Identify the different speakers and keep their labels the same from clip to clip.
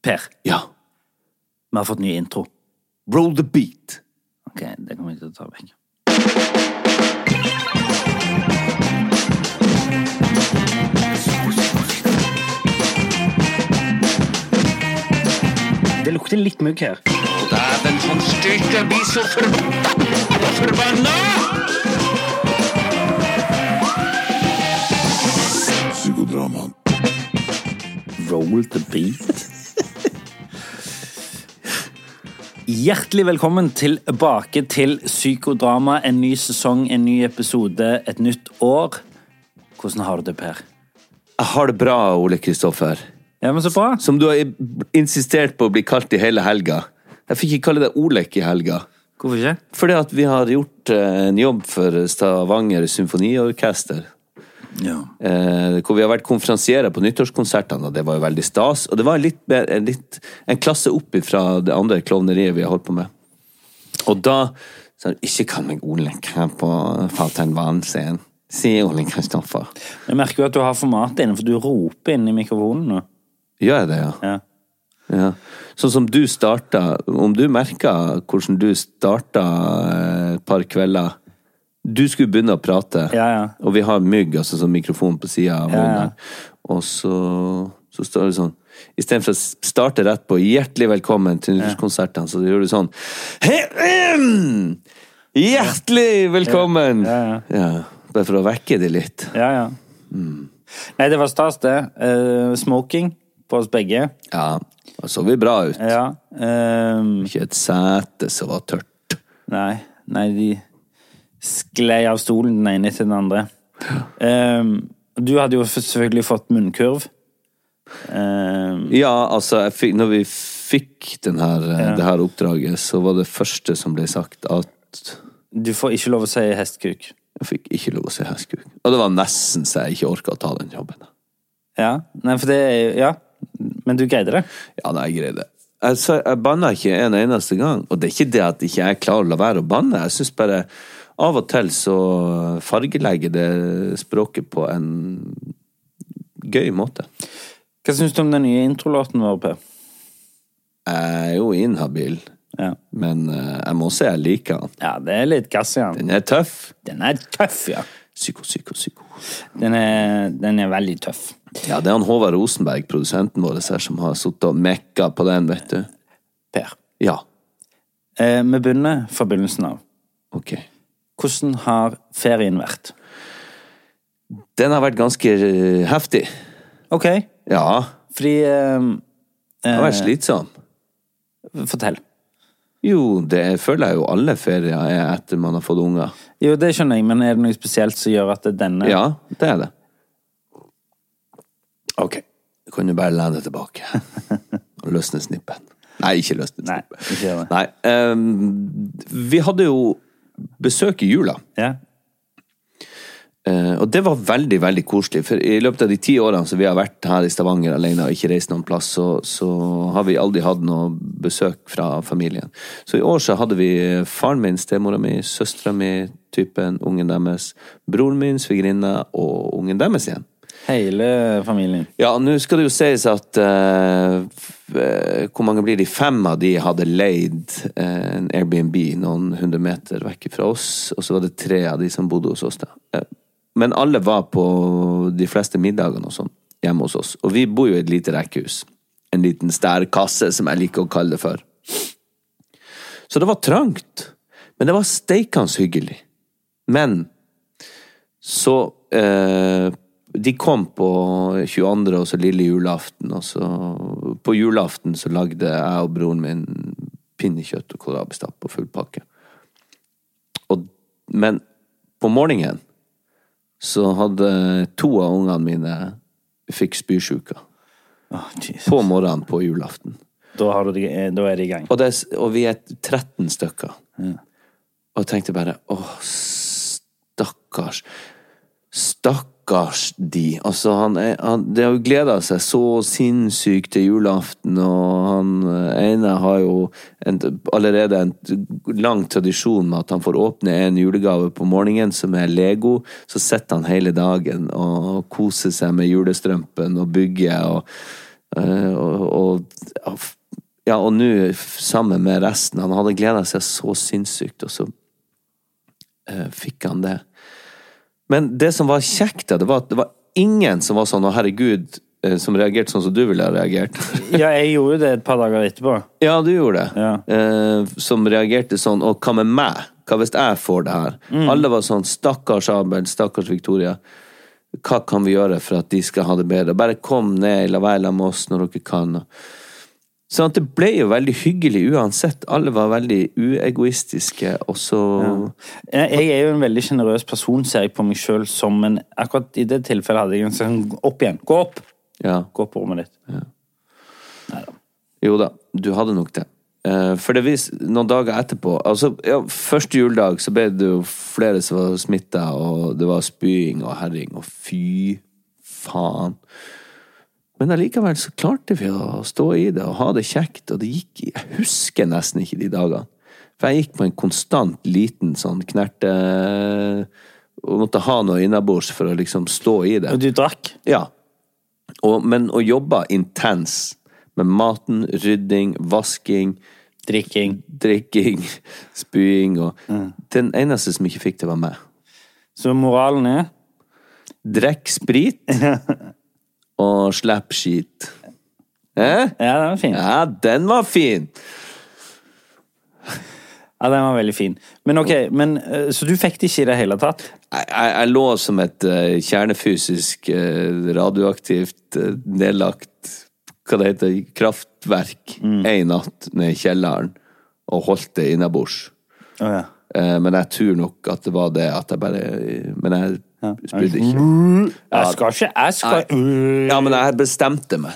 Speaker 1: Per,
Speaker 2: Ja.
Speaker 1: vi har fått ny intro.
Speaker 2: Roll the beat.
Speaker 1: Ok, det kommer jeg til å ta vekk.
Speaker 3: Det lukter litt mugg her.
Speaker 4: Dæven, sånn styrke blir så forbanna! Forbanna!
Speaker 2: Psykodramaen.
Speaker 1: Roll the beat. Hjertelig velkommen tilbake til Psykodrama. En ny sesong, en ny episode, et nytt år. Hvordan har du det, Per?
Speaker 2: Jeg har det bra, Ole Kristoffer.
Speaker 1: Ja, men Så bra.
Speaker 2: Som du har i- insistert på å bli kalt i hele helga. Jeg fikk ikke kalle deg Olek i helga.
Speaker 1: Hvorfor ikke?
Speaker 2: Fordi at vi har gjort eh, en jobb for Stavanger Symfoniorkester.
Speaker 1: Ja.
Speaker 2: Eh, hvor vi har vært konferansierer på nyttårskonsertene, og det var jo veldig stas. Og det var litt, mer- en litt en klasse opp fra det andre klovneriet vi har holdt på med. Og da sa hun ikke kall meg Olek her på Fatern Vann-scenen. Si Ole Kristoffer.
Speaker 1: Jeg merker jo at du har formatet inne, for du roper inn i mikrofonen nå.
Speaker 2: Gjør jeg det, ja?
Speaker 1: Ja.
Speaker 2: Ja. Sånn som du starta Om du merka hvordan du starta eh, et par kvelder Du skulle begynne å prate,
Speaker 1: Ja, ja.
Speaker 2: og vi har mygg, altså sånn mikrofon på sida av
Speaker 1: Ja,
Speaker 2: munnen.
Speaker 1: ja.
Speaker 2: her. Og så, så står det sånn Istedenfor å starte rett på 'Hjertelig velkommen til nyttårskonsertene', så gjør du sånn «Hem! Hjertelig velkommen!
Speaker 1: Ja,
Speaker 2: Ja, Bare for å vekke det litt.
Speaker 1: ja, ja. Mm. Nei, det var stas, det. Eh, smoking på oss begge.
Speaker 2: Ja. Da så vi bra ut.
Speaker 1: Ja. ehm,
Speaker 2: Ikke et sete som var tørt.
Speaker 1: Nei, nei de sklei av stolen den ene til den andre. Ehm, du hadde jo selvfølgelig fått munnkurv. Ehm,
Speaker 2: Ja, altså, jeg fikk, når vi fikk den her, eh, det her oppdraget, så var det første som ble sagt at
Speaker 1: du får ikke lov å si hestkuk.
Speaker 2: jeg fikk ikke lov å se hestkuk. Og det var nesten så jeg ikke orka å ta den jobben.
Speaker 1: Ja, nei, for det er jo Ja, men du greide det.
Speaker 2: Ja, nei, jeg greide det. Jeg, sa- jeg banna ikke en eneste gang. Og det er ikke det at ikke jeg klarer å la være å banne. Jeg syns bare av og til så fargelegger det språket på en gøy måte.
Speaker 1: Hva syns du om den nye introlåten vår, Per?
Speaker 2: Jeg er jo inhabil,
Speaker 1: Ja.
Speaker 2: men eh, jeg må si jeg liker den.
Speaker 1: ja, det er litt gass i den.
Speaker 2: Den er tøff.
Speaker 1: Den er tøff, ja.
Speaker 2: Psyko, psyko, psyko.
Speaker 1: Den er, den er veldig tøff.
Speaker 2: Ja, det er han Håvard Rosenberg, produsenten vår, her, som har sittet og mekka på den, vet du.
Speaker 1: Per,
Speaker 2: Ja,
Speaker 1: eh, vi begynner fra begynnelsen av.
Speaker 2: ok.
Speaker 1: Hvordan har ferien vært?
Speaker 2: Den har vært ganske eh, heftig.
Speaker 1: OK,
Speaker 2: Ja,
Speaker 1: fordi ehm,
Speaker 2: den har vært slitsom.
Speaker 1: Fortell.
Speaker 2: Jo, det føler jeg jo alle ferier er etter man har fått unger.
Speaker 1: Jo, det skjønner jeg, men er det noe spesielt som gjør at det er denne
Speaker 2: Ja, det er det. Ok, du kan jo bare lene deg tilbake. Og løsne snippen. Nei, ikke løsne
Speaker 1: Nei,
Speaker 2: snippen.
Speaker 1: ikke gjør det.
Speaker 2: Nei, ehm, vi hadde jo besøk i jula.
Speaker 1: Ja.
Speaker 2: Eh, og det var veldig, veldig koselig, for i løpet av de ti årene som vi har vært her i Stavanger alene og ikke reist noen plass, så, så har vi aldri hatt noe besøk fra familien. Så i år så hadde vi faren min, stemora mi, søstera mi, typen, ungen deres, broren min, svigerinna og ungen deres igjen.
Speaker 1: Hele familien.
Speaker 2: Ja, nå skal det jo sies at eh, f- eh, Hvor mange blir de? Fem av de hadde leid eh, en Airbnb noen hundre meter vekk fra oss, og så var det tre av de som bodde hos oss. da. Eh, men alle var på de fleste middagene og sånn hjemme hos oss. Og vi bor jo i et lite rekkehus. En liten stærkasse, som jeg liker å kalle det for. Så det var trangt. Men det var steikans hyggelig. Men så eh, De kom på 22. og så lille julaften, og så På julaften så lagde jeg og broren min pinnekjøtt og kålrabistappe og full pakke. Og, men på morgenen så hadde to av ungene mine fikk spysjuka.
Speaker 1: Åh, jeez.
Speaker 2: På morgenen på julaften.
Speaker 1: da, har du, det- eh, da er det i gang.
Speaker 2: Og, det, er s- og vi er 13 stykker. Og jeg tenkte bare åh, stakkars. Stakkars de. Altså, han, er, han De har jo gleda seg så sinnssykt til julaften, og han eh, ene har jo en, allerede en lang tradisjon med at han får åpne en julegave på morgenen, som er Lego. Så sitter han hele dagen og koser seg med julestrømpen og bygget og Eh, og, og Ja, og nå, f- sammen med resten Han hadde gleda seg så sinnssykt, og så eh, fikk han det. Men det som var kjekt, da, det var at det var ingen som var sånn 'Å, herregud', eh, som reagerte sånn som du ville ha reagert.
Speaker 1: Ja, jeg gjorde jo det et par dager etterpå.
Speaker 2: Ja, du gjorde det.
Speaker 1: Ja.
Speaker 2: Eh, som reagerte sånn Og hva med meg? Hva hvis jeg får det her? Alle var sånn Stakkars Abel, stakkars Victoria. Hva kan vi gjøre for at de skal ha det bedre? Bare kom ned, la være sammen med oss når dere kan. Sånn at det ble jo veldig hyggelig uansett. Alle var veldig uegoistiske, og så
Speaker 1: Jeg jeg er jo en veldig sjenerøs person, ser jeg på meg sjøl som en Akkurat i det tilfellet hadde jeg en sånn Opp igjen! Gå opp!
Speaker 2: ja.
Speaker 1: Gå opp på rommet ditt.
Speaker 2: Jo da, du hadde nok det. Eh, For det vis, noen dager etterpå altså, ja, Første juledag så ble det jo flere som var smitta, og det var spying og herring, og fy faen. Men allikevel så klarte vi å stå i det og ha det kjekt, og det gikk i- Jeg husker nesten ikke de dagene. For jeg gikk på en konstant liten sånn knerte Og måtte ha noe innabords for å liksom stå i det.
Speaker 1: Og du drakk?
Speaker 2: Ja. Og, men å jobbe intens med maten, rydding, vasking,
Speaker 1: Drikking.
Speaker 2: drikking, spying og Den eneste som ikke fikk det, var meg.
Speaker 1: Så moralen er
Speaker 2: Drikk sprit og slipp skit. Eh?
Speaker 1: Ja, den var fin. Ja.
Speaker 2: Ja, den var fin!
Speaker 1: den var veldig fin. Men ok, men, eh, Så du fikk det ikke i det hele tatt?
Speaker 2: Jeg, jeg, jeg lå som et eh, kjernefysisk, eh, radioaktivt, eh, nedlagt Hva det heter Kraftverk. Ei natt nede i kjelleren og holdt det innabords.
Speaker 1: Å ja.
Speaker 2: Eh, Men jeg tror nok at det var det at jeg bare Men jeg spydde ikke.
Speaker 1: Jeg skal ikke Jeg skal Øh,
Speaker 2: Ja, men jeg bestemte meg.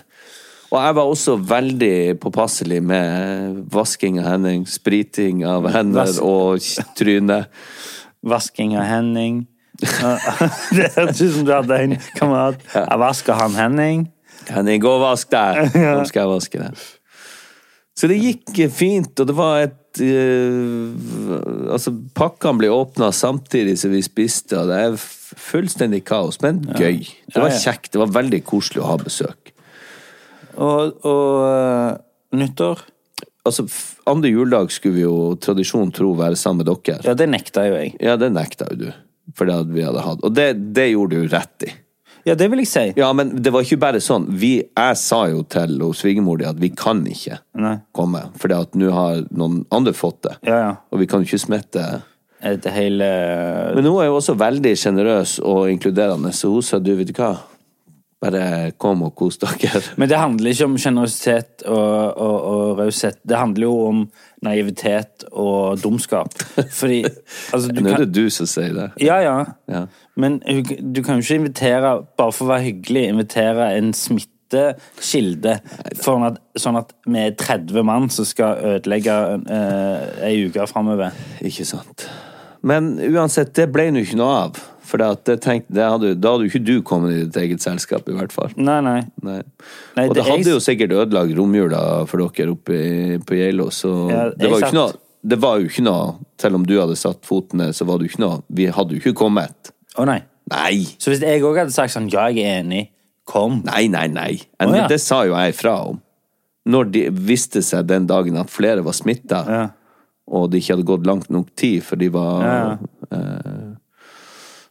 Speaker 2: Og jeg var også veldig påpasselig med vasking av hender, spriting av hender
Speaker 1: Vask.
Speaker 2: og k- tryne.
Speaker 1: Vasking av Henning. det hørtes ut som du hadde en kamerat. Jeg vasker han Henning.
Speaker 2: Henning, gå og vask deg! Nå skal jeg vaske deg. Så det gikk eh, fint, og det var et eh, Altså, pakkene ble åpna samtidig som vi spiste, og det er f- fullstendig kaos, men gøy. Det var
Speaker 1: Ja, ja.
Speaker 2: kjekt. Det var veldig koselig å ha besøk.
Speaker 1: Og, og eh, nyttår
Speaker 2: Altså, f- andre juledag skulle vi jo tradisjon tro være sammen med dere.
Speaker 1: Ja, det nekta jo jeg.
Speaker 2: Ja, det nekta jo du. For det hadde vi hadde hatt. Og det, det gjorde du rett i.
Speaker 1: Ja, det vil jeg si.
Speaker 2: Ja, men det var ikke bare sånn. Vi, jeg sa jo til hun svigermor di at vi kan ikke
Speaker 1: Nei.
Speaker 2: komme, for nå har noen andre fått det.
Speaker 1: Ja, ja.
Speaker 2: Og vi kan jo ikke smitte
Speaker 1: Et hele
Speaker 2: Men hun er jo også veldig sjenerøs og inkluderende, så hun sa du, vet du hva, bare kom og kos dere.
Speaker 1: Men det handler ikke om sjenerøsitet og, og, og raushet. Det handler jo om naivitet og dumskap. Fordi altså, du
Speaker 2: Nå er
Speaker 1: kan,
Speaker 2: det du som sier det.
Speaker 1: Ja, ja.
Speaker 2: Ja.
Speaker 1: Men du, du kan jo ikke invitere, bare for å være hyggelig, invitere en smittekilde sånn at, sånn at vi er 30 mann som skal ødelegge eh, ei uke framover.
Speaker 2: Ikke sant. Men uansett, det ble nå ikke noe av. For det at det tenkte, det hadde, da hadde jo ikke du kommet i ditt eget selskap, i hvert fall.
Speaker 1: Nei, nei.
Speaker 2: Nei.
Speaker 1: Nei,
Speaker 2: og
Speaker 1: det-
Speaker 2: det hadde
Speaker 1: jeg-
Speaker 2: jo sikkert ødelagt romjula for dere oppe i, på Geilo, så
Speaker 1: Ja, jeg
Speaker 2: det, var jo
Speaker 1: satt-
Speaker 2: ikke noe, det var jo ikke noe Selv om du hadde satt foten ned, så var det jo ikke noe Vi hadde jo ikke kommet.
Speaker 1: Å nei.
Speaker 2: Nei!
Speaker 1: Så hvis jeg òg hadde sagt sånn Ja, jeg er enig. Kom.
Speaker 2: Nei, nei, nei.
Speaker 1: Å,
Speaker 2: Men
Speaker 1: ja.
Speaker 2: Det sa jo jeg ifra om. Når de viste seg den dagen at flere var smitta,
Speaker 1: Ja.
Speaker 2: og det ikke hadde gått langt nok tid, for de var
Speaker 1: Ja.
Speaker 2: eh,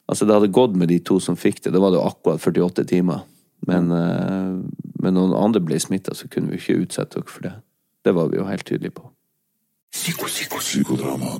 Speaker 2: Altså, det hadde gått med de to som fikk det. Da var det jo akkurat 48 timer. Men, eh, men når noen andre ble smitta, så kunne vi jo ikke utsette dere for det. Det var vi jo helt tydelige på.
Speaker 3: Psycho, psycho, psychodrama.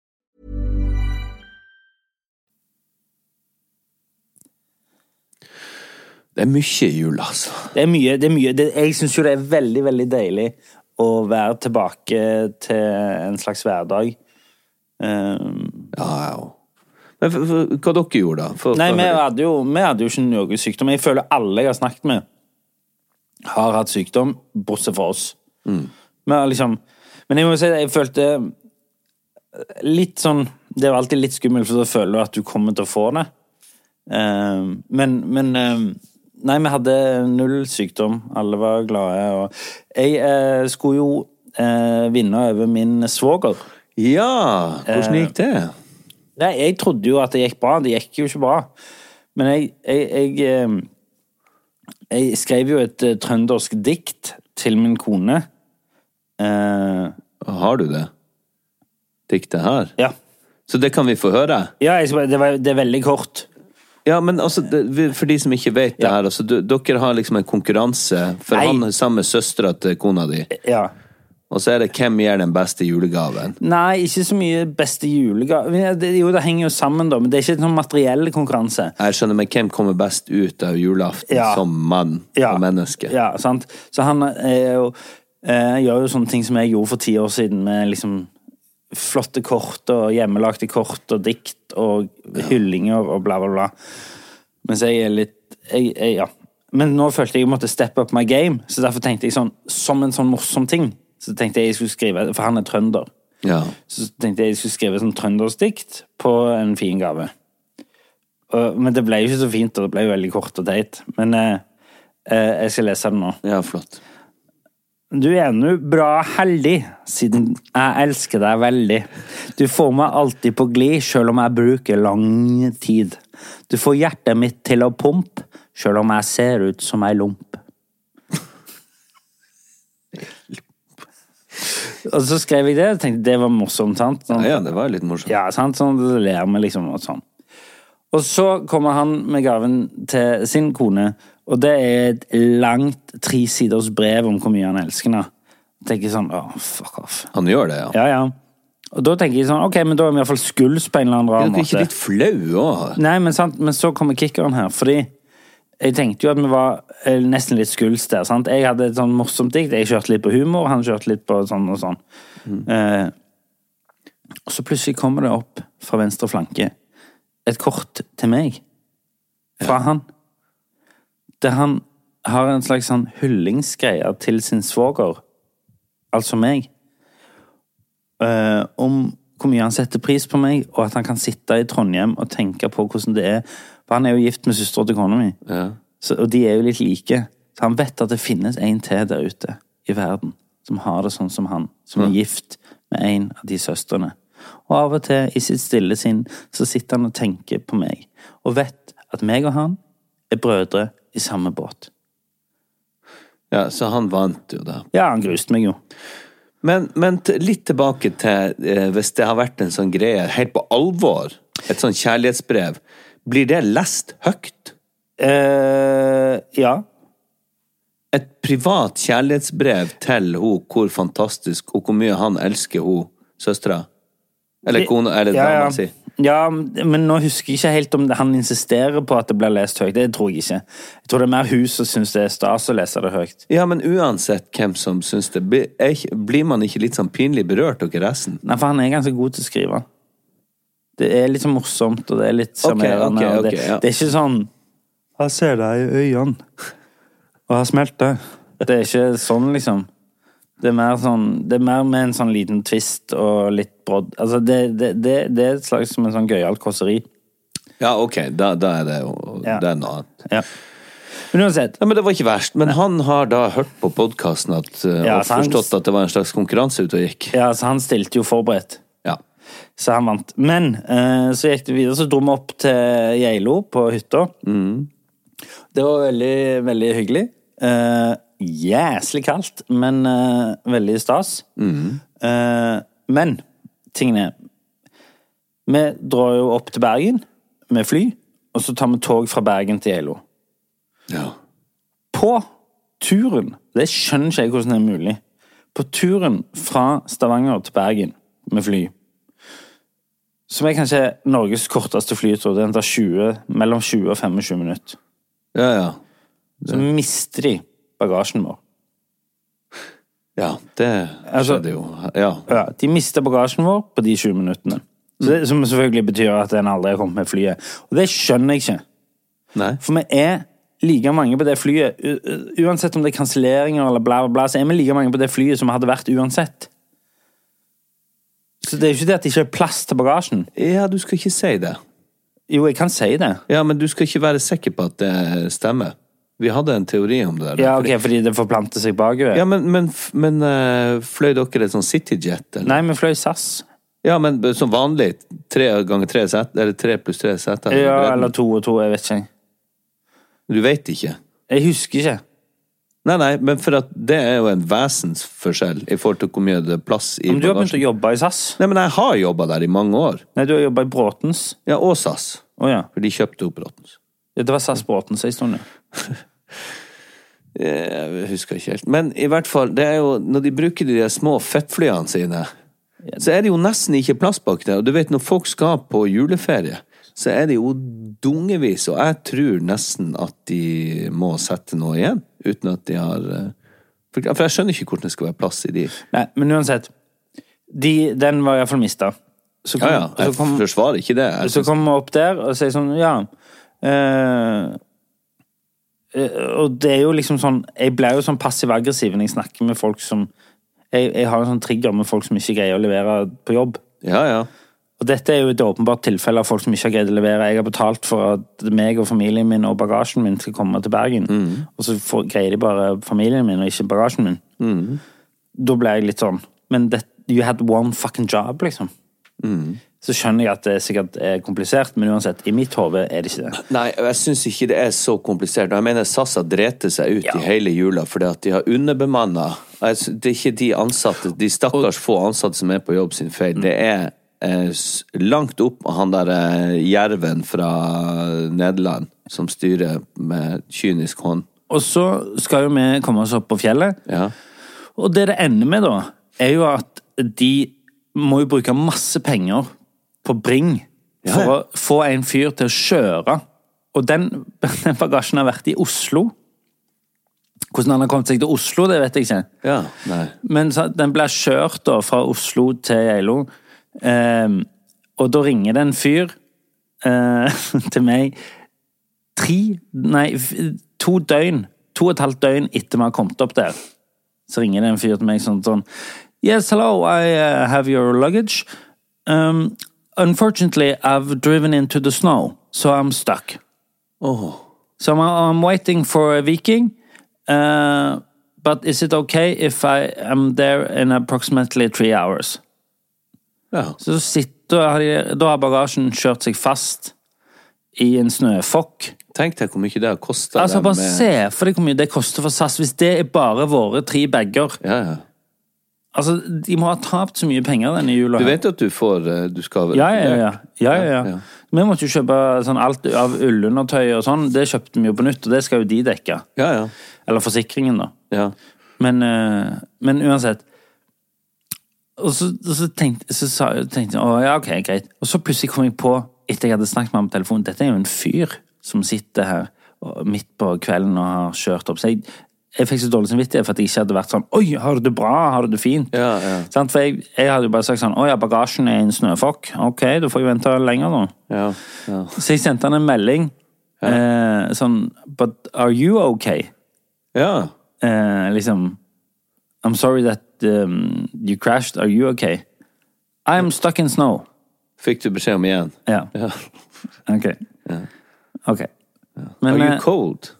Speaker 2: Det er mye i jula, altså.
Speaker 1: Det er mye. det er mye. Det, jeg syns jo det er veldig, veldig deilig å være tilbake til en slags hverdag. Ehm,
Speaker 2: Ja, ja. ja. Men for, for, hva dere gjorde, da? For,
Speaker 1: nei,
Speaker 2: for-
Speaker 1: vi hadde, jo, vi hadde jo ikke noe sykdom. Jeg føler alle jeg har snakket med, har hatt sykdom, bortsett fra oss.
Speaker 2: Mm.
Speaker 1: Men, liksom, men jeg må jo si det, jeg følte litt sånn Det er jo alltid litt skummelt, for da føler du at du kommer til å få det. Ehm, men men ehm, Nei, vi hadde null sykdom. Alle var glade. Og jeg eh, skulle jo eh, vinne over min svoger.
Speaker 2: Ja, hvordan
Speaker 1: Eh.
Speaker 2: gikk det?
Speaker 1: Nei, jeg trodde jo at det gikk bra. Det gikk jo ikke bra. Men jeg Jeg, jeg, ehm, jeg skrev jo et eh, trøndersk dikt til min kone. Eh,
Speaker 2: Har du det? Diktet her?
Speaker 1: ja.
Speaker 2: Så det kan vi få høre?
Speaker 1: ja jeg, skal bare- det, var, det er veldig kort.
Speaker 2: Ja, men altså, det, vi- for de som ikke vet det her, altså, du, dere har liksom en konkurranse, for
Speaker 1: Nei.
Speaker 2: han er samme søstera til kona di,
Speaker 1: Ja.
Speaker 2: og så er det hvem gir den beste julegaven?
Speaker 1: Nei, ikke så mye beste julegave. Men det- Jo, det henger jo sammen, da, men det er ikke en sånn materiell konkurranse.
Speaker 2: Jeg skjønner, men hvem kommer best ut av julaften
Speaker 1: Ja.
Speaker 2: som mann
Speaker 1: Ja.
Speaker 2: og menneske?
Speaker 1: Ja, sant? Så han er jo, eh, gjør jo sånne ting som jeg gjorde for ti år siden, med liksom flotte kort og hjemmelagte kort og dikt og hyllinger og bla, bla, bla. Mens jeg er litt jeg, jeg, Ja. Men nå følte jeg jeg måtte step up my game, så derfor tenkte jeg sånn, som en sånn morsom ting, så tenkte jeg jeg skulle skrive For han er trønder.
Speaker 2: Ja.
Speaker 1: Så tenkte jeg jeg skulle skrive et sånt trøndersdikt på en fin gave. Og- Men det ble jo ikke så fint, og det ble jo veldig kort og teit. Men eh, eh, jeg skal lese det nå.
Speaker 2: ja, flott.
Speaker 1: Du er nå bra heldig, siden jeg elsker deg veldig. Du får meg alltid på glid, sjøl om jeg bruker lang tid. Du får hjertet mitt til å pumpe, sjøl om jeg ser ut som ei lomp. Og så skrev jeg det, og tenkte det var morsomt, sant? Sånn,
Speaker 2: Ja, ja, det var litt morsomt.
Speaker 1: ja, sant? Sånn det ler vi liksom og sånn. Og så kommer han med gaven til sin kone, og det er et langt tresiders brev om hvor mye han elsker henne. Tenker sånn, åh, fuck off.
Speaker 2: Han gjør det, ja.
Speaker 1: Ja, ja. Og da tenker jeg sånn, ok, men da er vi i hvert fall skuls på en eller annen
Speaker 2: Er
Speaker 1: rar
Speaker 2: dere ikke
Speaker 1: måte.
Speaker 2: litt flau òg?
Speaker 1: Nei, men, sant? men så kommer kickeren her, fordi jeg tenkte jo at vi var eh, nesten litt skuls der. Sant? Jeg hadde et sånn morsomt dikt, jeg kjørte litt på humor, han kjørte litt på sånn og sånn. Eh, og så plutselig kommer det opp fra venstre flanke et kort til meg fra han. Der han har en slags sånn hyllingsgreie til sin svoger, altså meg, eh, om hvor mye han setter pris på meg, og at han kan sitte i Trondheim og tenke på hvordan det er. For han er jo gift med søstera til kona mi, så, og de er jo litt like. Så han vet at det finnes en til der ute i verden som har det sånn som han, som er gift med en av de søstrene. Og av og til, i sitt stille sinn, så sitter han og tenker på meg, og vet at meg og han er brødre i samme båt.
Speaker 2: Ja, så han vant jo, da.
Speaker 1: Ja, han gruste meg jo.
Speaker 2: Men, men t- litt tilbake til eh, hvis det har vært en sånn greie, helt på alvor, et sånn kjærlighetsbrev, blir det lest høyt?
Speaker 1: eh, ja.
Speaker 2: Et privat kjærlighetsbrev til ho, hvor fantastisk og hvor mye han elsker ho, søstera? Eller kona, eller
Speaker 1: ja,
Speaker 2: dama
Speaker 1: ja.
Speaker 2: si.
Speaker 1: Ja, men nå husker jeg ikke helt om det, han insisterer på at det blir lest høyt. Det tror jeg ikke. Jeg tror det er mer hun som syns det er stas å lese det høyt.
Speaker 2: Ja, men uansett hvem som syns det, blir, er ikke- blir man ikke litt sånn pinlig berørt, dere resten?
Speaker 1: Nei, for han er ganske god til å skrive. Det er litt sånn morsomt, og det er litt sjarmerende.
Speaker 2: ok,
Speaker 1: og det,
Speaker 2: ok, ja.
Speaker 1: det er ikke sånn Jeg ser deg i øynene, og jeg smelter. Det er ikke sånn, liksom. Det er mer, sånn, det er mer med en sånn liten twist og litt brodd. Altså, det, det, det, det er et slags som en sånn gøyalt kåseri.
Speaker 2: Ja, ok, da, da er det jo
Speaker 1: Ja.
Speaker 2: det er noe annet.
Speaker 1: Ja. Men uansett,
Speaker 2: Nei, men Det var ikke verst. Men han har da hørt på podkasten og
Speaker 1: Ja, så han-
Speaker 2: forstått at det var en slags konkurranse ute og gikk.
Speaker 1: ja, så han stilte jo forberedt.
Speaker 2: Ja.
Speaker 1: Så han vant. Men eh, så gikk det videre, så dro vi opp til Geilo på hytta. Det var veldig, veldig hyggelig. Eh, jæslig kaldt, men eh, veldig stas. Eh, men tingene er Vi drar jo opp til Bergen med fly, og så tar vi tog fra Bergen til Geilo.
Speaker 2: ja.
Speaker 1: På turen Det skjønner ikke jeg hvordan det er mulig. På turen fra Stavanger til Bergen med fly, som er kanskje Norges korteste flytur, den tar 20, mellom 20 og 25 minutter,
Speaker 2: Ja, ja.
Speaker 1: så mister de bagasjen vår.
Speaker 2: Ja, det
Speaker 1: Altså-
Speaker 2: skjedde jo. Ja.
Speaker 1: Ja, de mister bagasjen vår på de 20 minuttene. Så det, som selvfølgelig betyr at en aldri har kommet med flyet. Og det skjønner jeg ikke.
Speaker 2: Nei.
Speaker 1: For vi er like mange på det flyet, u u uansett om det er kanselleringer eller bla, bla, bla, så er vi like mange på det flyet som vi hadde vært uansett. Så det er jo ikke det at det ikke er plass til bagasjen.
Speaker 2: Ja, du skal ikke si det.
Speaker 1: Jo, jeg kan si det.
Speaker 2: Ja, men du skal ikke være sikker på at det stemmer. Vi hadde en teori om det der.
Speaker 1: Ja, ok, fordi det forplanter seg bakover.
Speaker 2: Ja, men, men, f- men eh, fløy dere et sånn cityjet? eller?
Speaker 1: Nei, vi fløy SAS.
Speaker 2: Ja, men b- som vanlig. Tre ganger tre set, eller tre pluss tre seter.
Speaker 1: Ja, eller to og to, jeg vet ikke.
Speaker 2: Du vet ikke.
Speaker 1: Jeg husker ikke.
Speaker 2: Nei, nei, men for at det er jo en vesensforskjell i forhold til hvor mye det er plass i
Speaker 1: Men du har begynt å
Speaker 2: bagasjen.
Speaker 1: jobbe i SAS.
Speaker 2: Nei, men jeg har jobba der i mange år.
Speaker 1: Nei, du har jobba i Bråtens.
Speaker 2: Ja, og SAS.
Speaker 1: Å ja.
Speaker 2: For de kjøpte opp Rottens.
Speaker 1: Ja, Det var SAS Bråtens en stund, ja.
Speaker 2: Eh, Jeg husker ikke helt. Men i hvert fall, det er jo, når de bruker de der små fettflyene sine, så er det jo nesten ikke plass bak der. Og du vet, når folk skal på juleferie, så er det jo dungevis, og jeg tror nesten at de må sette noe igjen, uten at de har eh, For for jeg skjønner ikke hvordan det skal være plass i de.
Speaker 1: Nei, men uansett. De, den var iallfall mista. Så
Speaker 2: Ja,
Speaker 1: kom,
Speaker 2: ja, jeg
Speaker 1: så kom,
Speaker 2: forsvarer ikke det. Jeg
Speaker 1: så
Speaker 2: synes-
Speaker 1: kom vi opp der og sier sånn, ja eh, eh, Og det er jo liksom sånn Jeg blir jo sånn passiv-aggressiv når jeg snakker med folk som jeg, jeg har en sånn trigger med folk som ikke greier å levere på jobb.
Speaker 2: Ja, ja.
Speaker 1: Og dette er jo et åpenbart tilfelle av folk som ikke har greid å levere. Jeg har betalt for at meg og familien min og bagasjen min skal komme til Bergen. Og så får, greier de bare familien min og ikke bagasjen min. Da ble jeg litt sånn Men det, you had one fucking job, liksom. Så skjønner jeg at det sikkert er komplisert, men uansett, i mitt hode er det ikke det.
Speaker 2: Nei, og jeg syns ikke det er så komplisert. Og Jeg mener SAS har drept seg ut i hele jula fordi at de har underbemanna. Det er ikke de ansatte, de stakkars få ansatte som er på jobb sin feil. Det er eh, s- langt opp av han derre jerven fra Nederland som styrer med kynisk hånd.
Speaker 1: Og så skal jo vi komme oss opp på fjellet.
Speaker 2: Ja.
Speaker 1: Og det det ender med, da, er jo at de må jo bruke masse penger på Bring
Speaker 2: Ja,
Speaker 1: for
Speaker 2: ja.
Speaker 1: å få en fyr til å kjøre. Og den, den bagasjen har vært i Oslo. Hvordan han har kommet seg til Oslo, det vet jeg ikke.
Speaker 2: ja. Nei.
Speaker 1: Men så, den ble kjørt da fra Oslo til Geilo. Ehm, og da ringer det en fyr eh, til meg tre Nei, f- to døgn. To og et halvt døgn etter vi har kommet opp der. Så ringer det en fyr til meg sånn sånn Yes, hello, I uh, have your luggage. Um, unfortunately, I've driven into the snow, so I'm stuck. So I'm, I'm waiting for a Viking. Uh, but is it okay if I am there in approximately three hours?
Speaker 2: Ja.
Speaker 1: Så sitter, da har de- da har bagasjen kjørt seg fast i en snøfokk.
Speaker 2: Tenk deg hvor mye det har kosta
Speaker 1: Altså, bare se for deg hvor mye det koster for SAS hvis det er bare våre tre bager.
Speaker 2: Ja, ja.
Speaker 1: Altså, de må ha tapt så mye penger denne jula.
Speaker 2: Du
Speaker 1: her.
Speaker 2: vet at du får eh, Du skal
Speaker 1: Ja, ja, ja. ja, ja,
Speaker 2: Ja,
Speaker 1: ja.
Speaker 2: ja.
Speaker 1: Vi måtte jo kjøpe sånn alt av ullundertøy og sånn. Det kjøpte vi jo på nytt, og det skal jo de dekke.
Speaker 2: Ja, ja.
Speaker 1: Eller forsikringen, da.
Speaker 2: ja.
Speaker 1: Men, eh, men uansett. Og så, og så tenkte, så sa, tenkte jeg å, ja, ok, greit. Og så plutselig kom jeg på, etter jeg hadde snakket med ham på telefonen, dette er jo en fyr som sitter her og- midt på kvelden og har kjørt opp. Så jeg, jeg fikk så dårlig samvittighet for at jeg ikke hadde vært sånn Oi, har du det bra? Har du det fint?
Speaker 2: Ja, ja.
Speaker 1: Sant? For jeg, jeg hadde jo bare sagt sånn Å ja, bagasjen er i en snøfokk. Ok, da får jeg vente lenger, da.
Speaker 2: ja, ja.
Speaker 1: Så jeg sendte han en melding eh, sånn But are you okay?
Speaker 2: ja.
Speaker 1: eh, liksom I'm sorry that um, you crashed. Are you okay? I'm stuck in snow.
Speaker 2: Fikk du beskjed om igjen?
Speaker 1: Ja.
Speaker 2: Ja.
Speaker 1: Ok. Ok. Men,
Speaker 2: Are
Speaker 1: eh,
Speaker 2: you cold?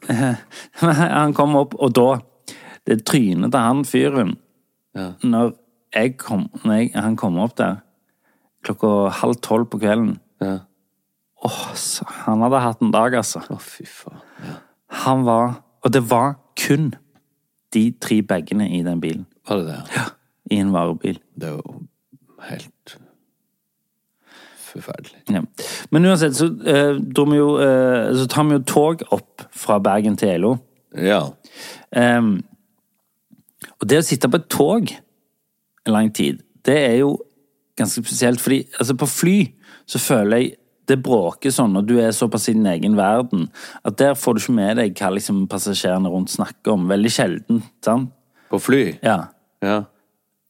Speaker 1: han kom opp, og da Det trynet til han fyren når, jeg kom, når jeg, han kom opp der klokka halv tolv på kvelden
Speaker 2: Ja.
Speaker 1: Åh, så han hadde hatt en dag, altså.
Speaker 2: Å, fy faen. Ja.
Speaker 1: Han var Og det var kun de tre bagene i den bilen.
Speaker 2: Var det det? Ja.
Speaker 1: I en varebil.
Speaker 2: Det er jo helt forferdelig.
Speaker 1: Ja. Men uansett, så, eh, dro vi jo, eh, så tar vi jo tog opp fra Bergen til Elo.
Speaker 2: Ja.
Speaker 1: Ehm, og det å sitte på et tog en lang tid, det er jo ganske spesielt, fordi altså på fly så føler jeg det bråker sånn, og du er såpass i din egen verden, at der får du ikke med deg hva liksom passasjerene rundt snakker om. Veldig sjelden, sant?
Speaker 2: På fly?
Speaker 1: Ja.
Speaker 2: Ja.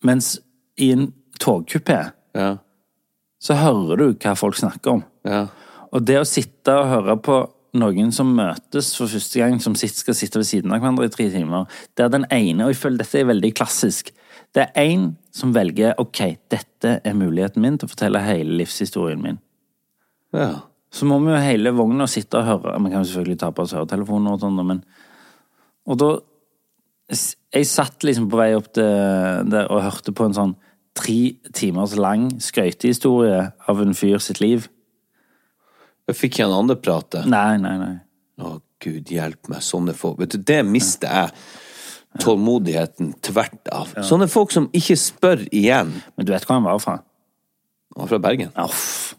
Speaker 1: Mens i en togkupé
Speaker 2: Ja.
Speaker 1: så hører du hva folk snakker om.
Speaker 2: Ja.
Speaker 1: Og det å sitte og høre på noen som møtes for første gang, som sitt- skal sitte ved siden av hverandre i tre timer, der den ene, og jeg føler dette er veldig klassisk, det er én som velger ok, dette er muligheten min til å fortelle hele livshistorien min.
Speaker 2: ja.
Speaker 1: Så må vi jo hele vogna sitte og høre, man kan jo selvfølgelig ta på oss høretelefoner og sånn, da, men Og da Jeg satt liksom på vei opp til der og hørte på en sånn tre timers lang skrøytehistorie av en fyr sitt liv.
Speaker 2: Jeg fikk ikke en annen prate.
Speaker 1: Nei, nei, nei.
Speaker 2: Å, gud hjelp meg, sånne folk. Vet du, det mister jeg tålmodigheten tvert av. Sånne folk som ikke spør igjen.
Speaker 1: Men du vet hvor han var fra?
Speaker 2: Han er fra Bergen.
Speaker 1: Uff.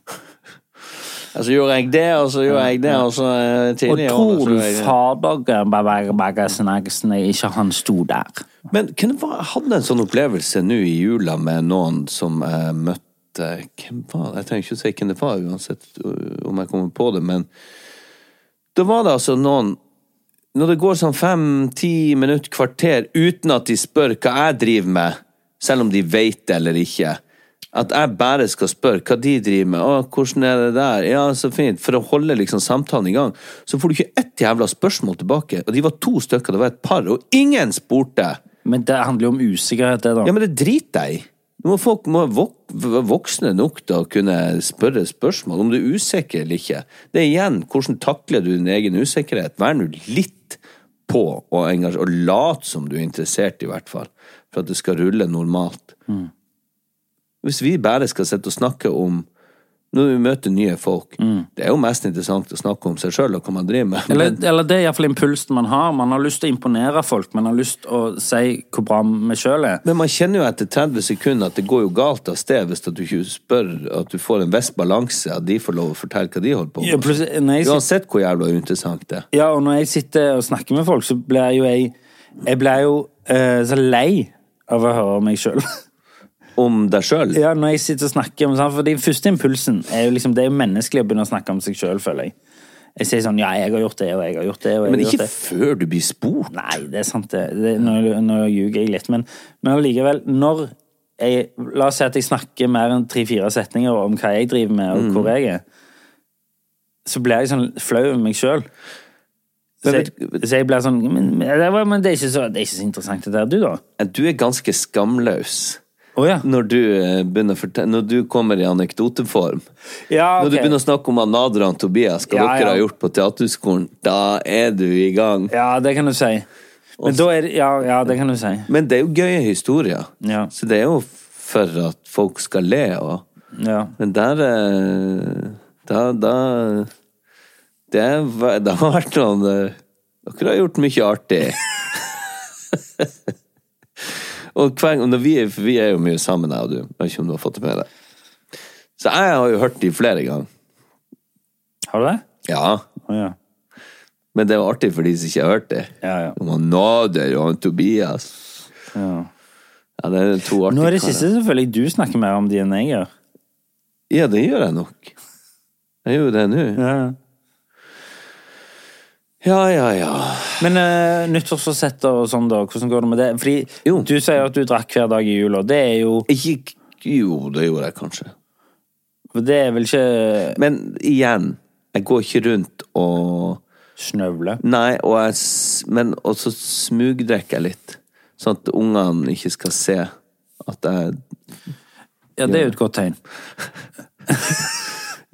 Speaker 2: Og så gjorde jeg det, og så gjorde jeg det, og så eh,
Speaker 1: Og
Speaker 2: tidlig i årene,
Speaker 1: tror
Speaker 2: så
Speaker 1: du
Speaker 2: gjorde jeg det.
Speaker 1: fadergabagagasenagsen ikke han sto der?
Speaker 2: Men hvem var, jeg hadde en sånn opplevelse nå i jula med noen som jeg møtte Hvem var det? Jeg trenger ikke å si hvem det var, uansett øh, om jeg kommer på det, men da var det altså noen Når det går sånn fem-ti minutt, kvarter, uten at de spør hva jeg driver med, selv om de vet det eller ikke At jeg bare skal spørre hva de driver med. 'Å, hvordan er det der?' 'Ja, så fint.' For å holde liksom samtalen i gang. Så får du ikke ett jævla spørsmål tilbake. Og de var to stykker, det var et par, og ingen spurte!
Speaker 1: Men det handler jo om usikkerhet, det, da.
Speaker 2: Ja, men det driter jeg i. Du må Folk må vok- være voksne nok til å kunne spørre spørsmål om du er usikker eller ikke. Det er igjen hvordan takler du din egen usikkerhet. Vær nå litt på og, engasj- og lat som du er interessert, i hvert fall, for at det skal rulle normalt. Hvis vi bare skal sitte og snakke om når vi møter nye folk Det er jo mest interessant å snakke om seg sjøl og hva man driver med. men-
Speaker 1: eller, eller det er iallfall impulsen man har. Man har lyst til å imponere folk. Man har lyst til å si hvor bra vi sjøl er.
Speaker 2: Men man kjenner jo etter 30 sekunder at det går jo galt av sted hvis at du ikke spør at du får en viss balanse, at de får lov å fortelle hva de holder på
Speaker 1: Ja,
Speaker 2: med.
Speaker 1: plutselig- når jeg sitter-
Speaker 2: Uansett hvor jævla uinteressant det er.
Speaker 1: Ja, og når jeg sitter og snakker med folk, så blir jo jeg Jeg blir jo eh, så lei av å høre meg sjøl.
Speaker 2: Om deg sjøl.
Speaker 1: ja, når jeg sitter og snakker om sånn, For den første impulsen er jo liksom Det er jo menneskelig å begynne å snakke om seg sjøl, føler jeg. Jeg sier sånn Ja, jeg har gjort det, og jeg har gjort det, og jeg har
Speaker 2: Men
Speaker 1: gjort
Speaker 2: ikke
Speaker 1: det.
Speaker 2: før du blir spurt.
Speaker 1: Nei, det er sant. det. det nå, nå ljuger jeg litt. Men, men allikevel, når jeg La oss si at jeg snakker mer enn tre-fire setninger om hva jeg driver med,
Speaker 2: Mm.
Speaker 1: og hvor jeg er. Så blir jeg sånn flau over meg sjøl. Så,
Speaker 2: Men vet-
Speaker 1: jeg- så jeg blir sånn Men, men det var- men det, er ikke så, det er ikke så interessant, det der, du, da?
Speaker 2: Du er ganske skamløs
Speaker 1: Å ja.
Speaker 2: når du, eh, begynner å fortelle, når du kommer i anekdoteform.
Speaker 1: Ja,
Speaker 2: Når du
Speaker 1: ok.
Speaker 2: begynner å snakke om han Adrian Tobias, hva
Speaker 1: Ja,
Speaker 2: dere
Speaker 1: ja.
Speaker 2: har gjort på teaterskolen, da er du i gang.
Speaker 1: ja, det kan du si. Men da er det Ja, ja det kan du si.
Speaker 2: Men det er jo gøye historier,
Speaker 1: Ja.
Speaker 2: så det er jo for at folk skal le. og...
Speaker 1: Ja.
Speaker 2: Men der eh, Da, da det, var- det har vært noen eh, Dere har gjort mye artig. og hver, gang- når vi, er- for vi er jo mye sammen, jeg og du. Jeg vet ikke om du har fått det med deg. Så jeg har jo hørt de flere ganger.
Speaker 1: Har du det?
Speaker 2: Ja.
Speaker 1: Å ja.
Speaker 2: Men det var artig for de som ikke har hørt det.
Speaker 1: Ja, ja.
Speaker 2: Om han Nader og han Tobias.
Speaker 1: ja.
Speaker 2: Ja, det er to artige
Speaker 1: Nå er det
Speaker 2: karer.
Speaker 1: siste selvfølgelig du snakker mer om de enn jeg gjør.
Speaker 2: Ja, det gjør jeg nok. Jeg gjør jo det nå.
Speaker 1: Ja.
Speaker 2: Ja, ja, ja.
Speaker 1: Men uh, nyttårsforsetter og sånn, da. Hvordan går det med det? Fordi
Speaker 2: Jo.
Speaker 1: du sier at du drakk hver dag i jula. Det er jo
Speaker 2: Ikke Jo, det gjorde jeg kanskje.
Speaker 1: Det er vel ikke
Speaker 2: Men igjen, jeg går ikke rundt og
Speaker 1: snøvle?
Speaker 2: Nei, og jeg, s- men og så smugdrikker jeg litt. Sånn at ungene ikke skal se at jeg
Speaker 1: Ja, det er jo et godt tegn.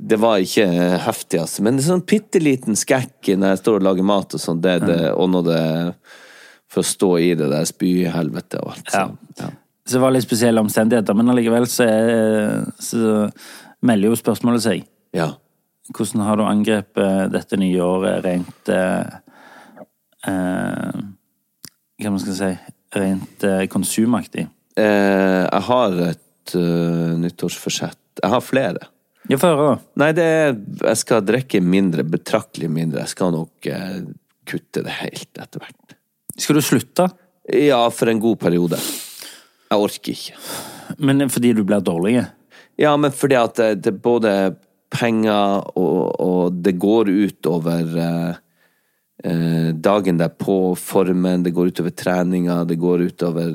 Speaker 2: det var ikke heftigast, men det er sånn bitte liten skekk når jeg står og lager mat og sånn, det, det, og når det For å stå i det der spyhelvetet og alt. sånn. Ja.
Speaker 1: Så det var litt spesielle omstendigheter, men allikevel så, er, så melder jo spørsmålet seg.
Speaker 2: ja.
Speaker 1: Hvordan har du angrepet dette nye året rent eh, eh, Hva man skal si Rent eh, konsumaktig?
Speaker 2: Eh, jeg har et eh, nyttårsforsett. Jeg har flere.
Speaker 1: Ja, få høre, da.
Speaker 2: Nei, det er, jeg skal drikke mindre, betraktelig mindre. Jeg skal nok eh, kutte det helt etter hvert.
Speaker 1: Skal du slutte?
Speaker 2: Ja, for en god periode. Jeg orker ikke.
Speaker 1: Men fordi du blir dårlig?
Speaker 2: Ja, men fordi at eh, det, det er både penger og, og det går ut over eh, eh, dagen derpå, formen, det går ut over treninga, det går ut over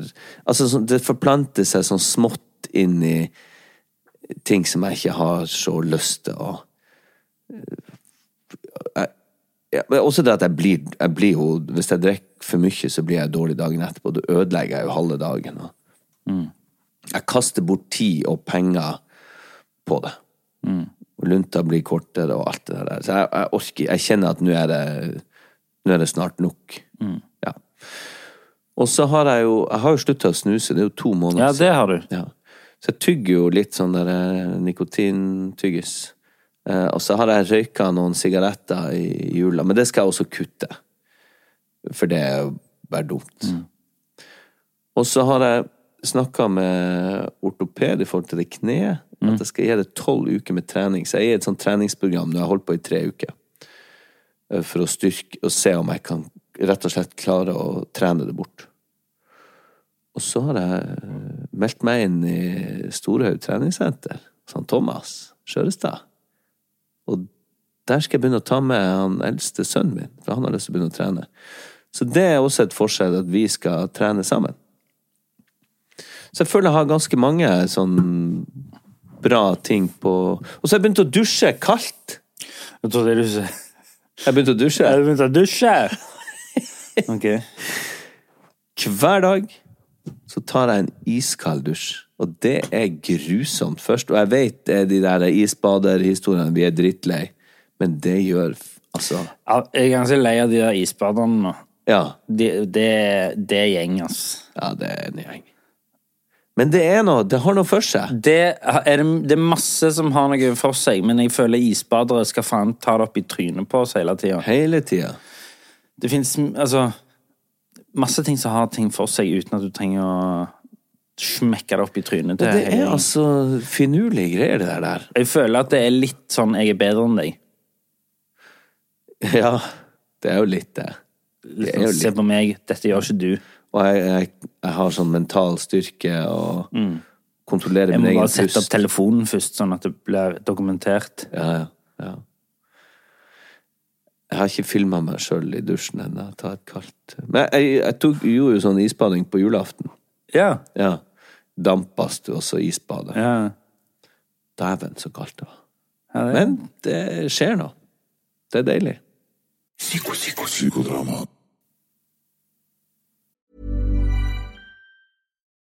Speaker 2: Altså, sånn- det forplanter seg sånn smått inn i ting som jeg ikke har så lyst til å eh, ja, men også det at jeg blir, jeg blir jo Hvis jeg drikker for mye, så blir jeg dårlig dagen etterpå. Da ødelegger jeg jo halve dagen. Og.
Speaker 1: Mm.
Speaker 2: Jeg kaster bort tid og penger på det.
Speaker 1: Mm.
Speaker 2: Og lunta blir kortere og alt det der. Så jeg, jeg orker Jeg kjenner at nå er det Nå er det snart nok.
Speaker 1: Mm.
Speaker 2: Ja. Og så har jeg jo Jeg har jo slutta å snuse. Det er jo to måneder
Speaker 1: Ja, det har du.
Speaker 2: ja. Så jeg tygger jo litt sånn der eh, nikotintyggis. Eh, og så har jeg røyka noen sigaretter i jula, men det skal jeg også kutte. For det er jo bare dumt. Og så har jeg snakka med ortoped i forhold til det kneet. At jeg skal gi det tolv uker med trening. Så jeg er i et sånt treningsprogram nå. Jeg har holdt på i tre uker. Eh, For å styrke og se om jeg kan rett og slett klare å trene det bort. Og så har jeg eh, meldt meg inn i Storhaug treningssenter, St. Thomas, Skjørestad. Og der skal jeg begynne å ta med han eldste sønnen min, for han har lyst til å begynne å trene. Så det er også et forskjell at vi skal trene sammen. Så jeg føler jeg har ganske mange sånn bra ting på Og så har jeg begynt å dusje kaldt!
Speaker 1: Jeg trodde du sa
Speaker 2: Jeg begynte å dusje
Speaker 1: Har du begynt å dusje? Ok.
Speaker 2: hver dag så tar jeg en iskald dusj. Og det er grusomt først. Og jeg vet det er de der isbaderhistoriene, vi er drittlei. Men det gjør f- Altså,
Speaker 1: Ja, Jeg er ganske lei av de der isbaderne nå.
Speaker 2: ja.
Speaker 1: Det de, de er gjeng, ass.
Speaker 2: Ja, det er en gjeng. Men det er noe. Det har noe for seg.
Speaker 1: Det er, det, det er masse som har noe for seg, men jeg føler isbadere skal faen ta det opp i trynet på oss hele tida.
Speaker 2: Hele tida.
Speaker 1: Det fins altså masse ting som har ting for seg, uten at du trenger å smekke det opp i trynet. til
Speaker 2: Det er
Speaker 1: hele-
Speaker 2: altså finurlige greier, det der der.
Speaker 1: Jeg føler at det er litt sånn 'jeg er bedre enn deg'.
Speaker 2: Ja. Det er jo litt det. Det er jo
Speaker 1: Liksom, Se
Speaker 2: litt.
Speaker 1: på meg, dette gjør ikke du.
Speaker 2: Og jeg, jeg, jeg har sånn mental styrke og kontrollerer
Speaker 1: Mm. Jeg
Speaker 2: min
Speaker 1: må bare
Speaker 2: egen
Speaker 1: sette opp
Speaker 2: pust.
Speaker 1: telefonen først, sånn at det blir dokumentert.
Speaker 2: Ja, ja, ja. Jeg har ikke filma meg sjøl i dusjen ennå. Jeg tar et kaldt Men jeg, jeg, jeg tok, gjorde jo sånn isbading på julaften.
Speaker 1: Ja.
Speaker 2: Ja. Dampbadstue og så isbade.
Speaker 1: ja.
Speaker 2: Dæven, så kaldt det var.
Speaker 1: Ja, det-
Speaker 2: Men det skjer noe. Det er deilig.
Speaker 3: Psico, psico, psicodrama.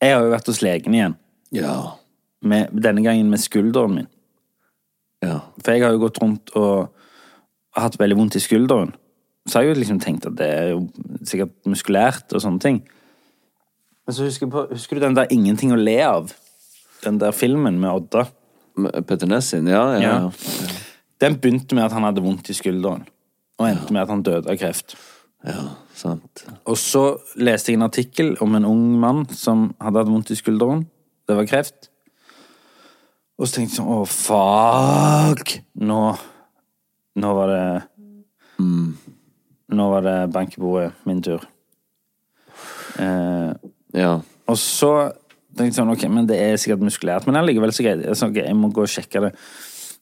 Speaker 1: Jeg har jo vært hos legen igjen,
Speaker 2: Ja.
Speaker 1: med, denne gangen med skulderen min.
Speaker 2: Ja.
Speaker 1: For jeg har jo gått rundt og hatt veldig vondt i skulderen. Så har jeg jo liksom tenkt at det er jo sikkert muskulært og sånne ting. Men så husker, jeg på, husker du den der 'Ingenting å le av'? Den der filmen med Odda.
Speaker 2: Men Petter Næss sin? Ja, ja.
Speaker 1: Ja. Den begynte med at han hadde vondt i skulderen. Og endte med at han døde av kreft.
Speaker 2: ja. sant.
Speaker 1: Og så leste jeg en artikkel om en ung mann som hadde hatt vondt i skulderen. Det var kreft. Og så tenkte jeg sånn Å, fuck! Nå Nå var det Nå var det bank i bordet. Min tur. Eh,
Speaker 2: Ja.
Speaker 1: og så tenkte jeg sånn, ok, men det er sikkert muskulært, men allikevel så greit. Altså, ok, jeg må gå og sjekke det.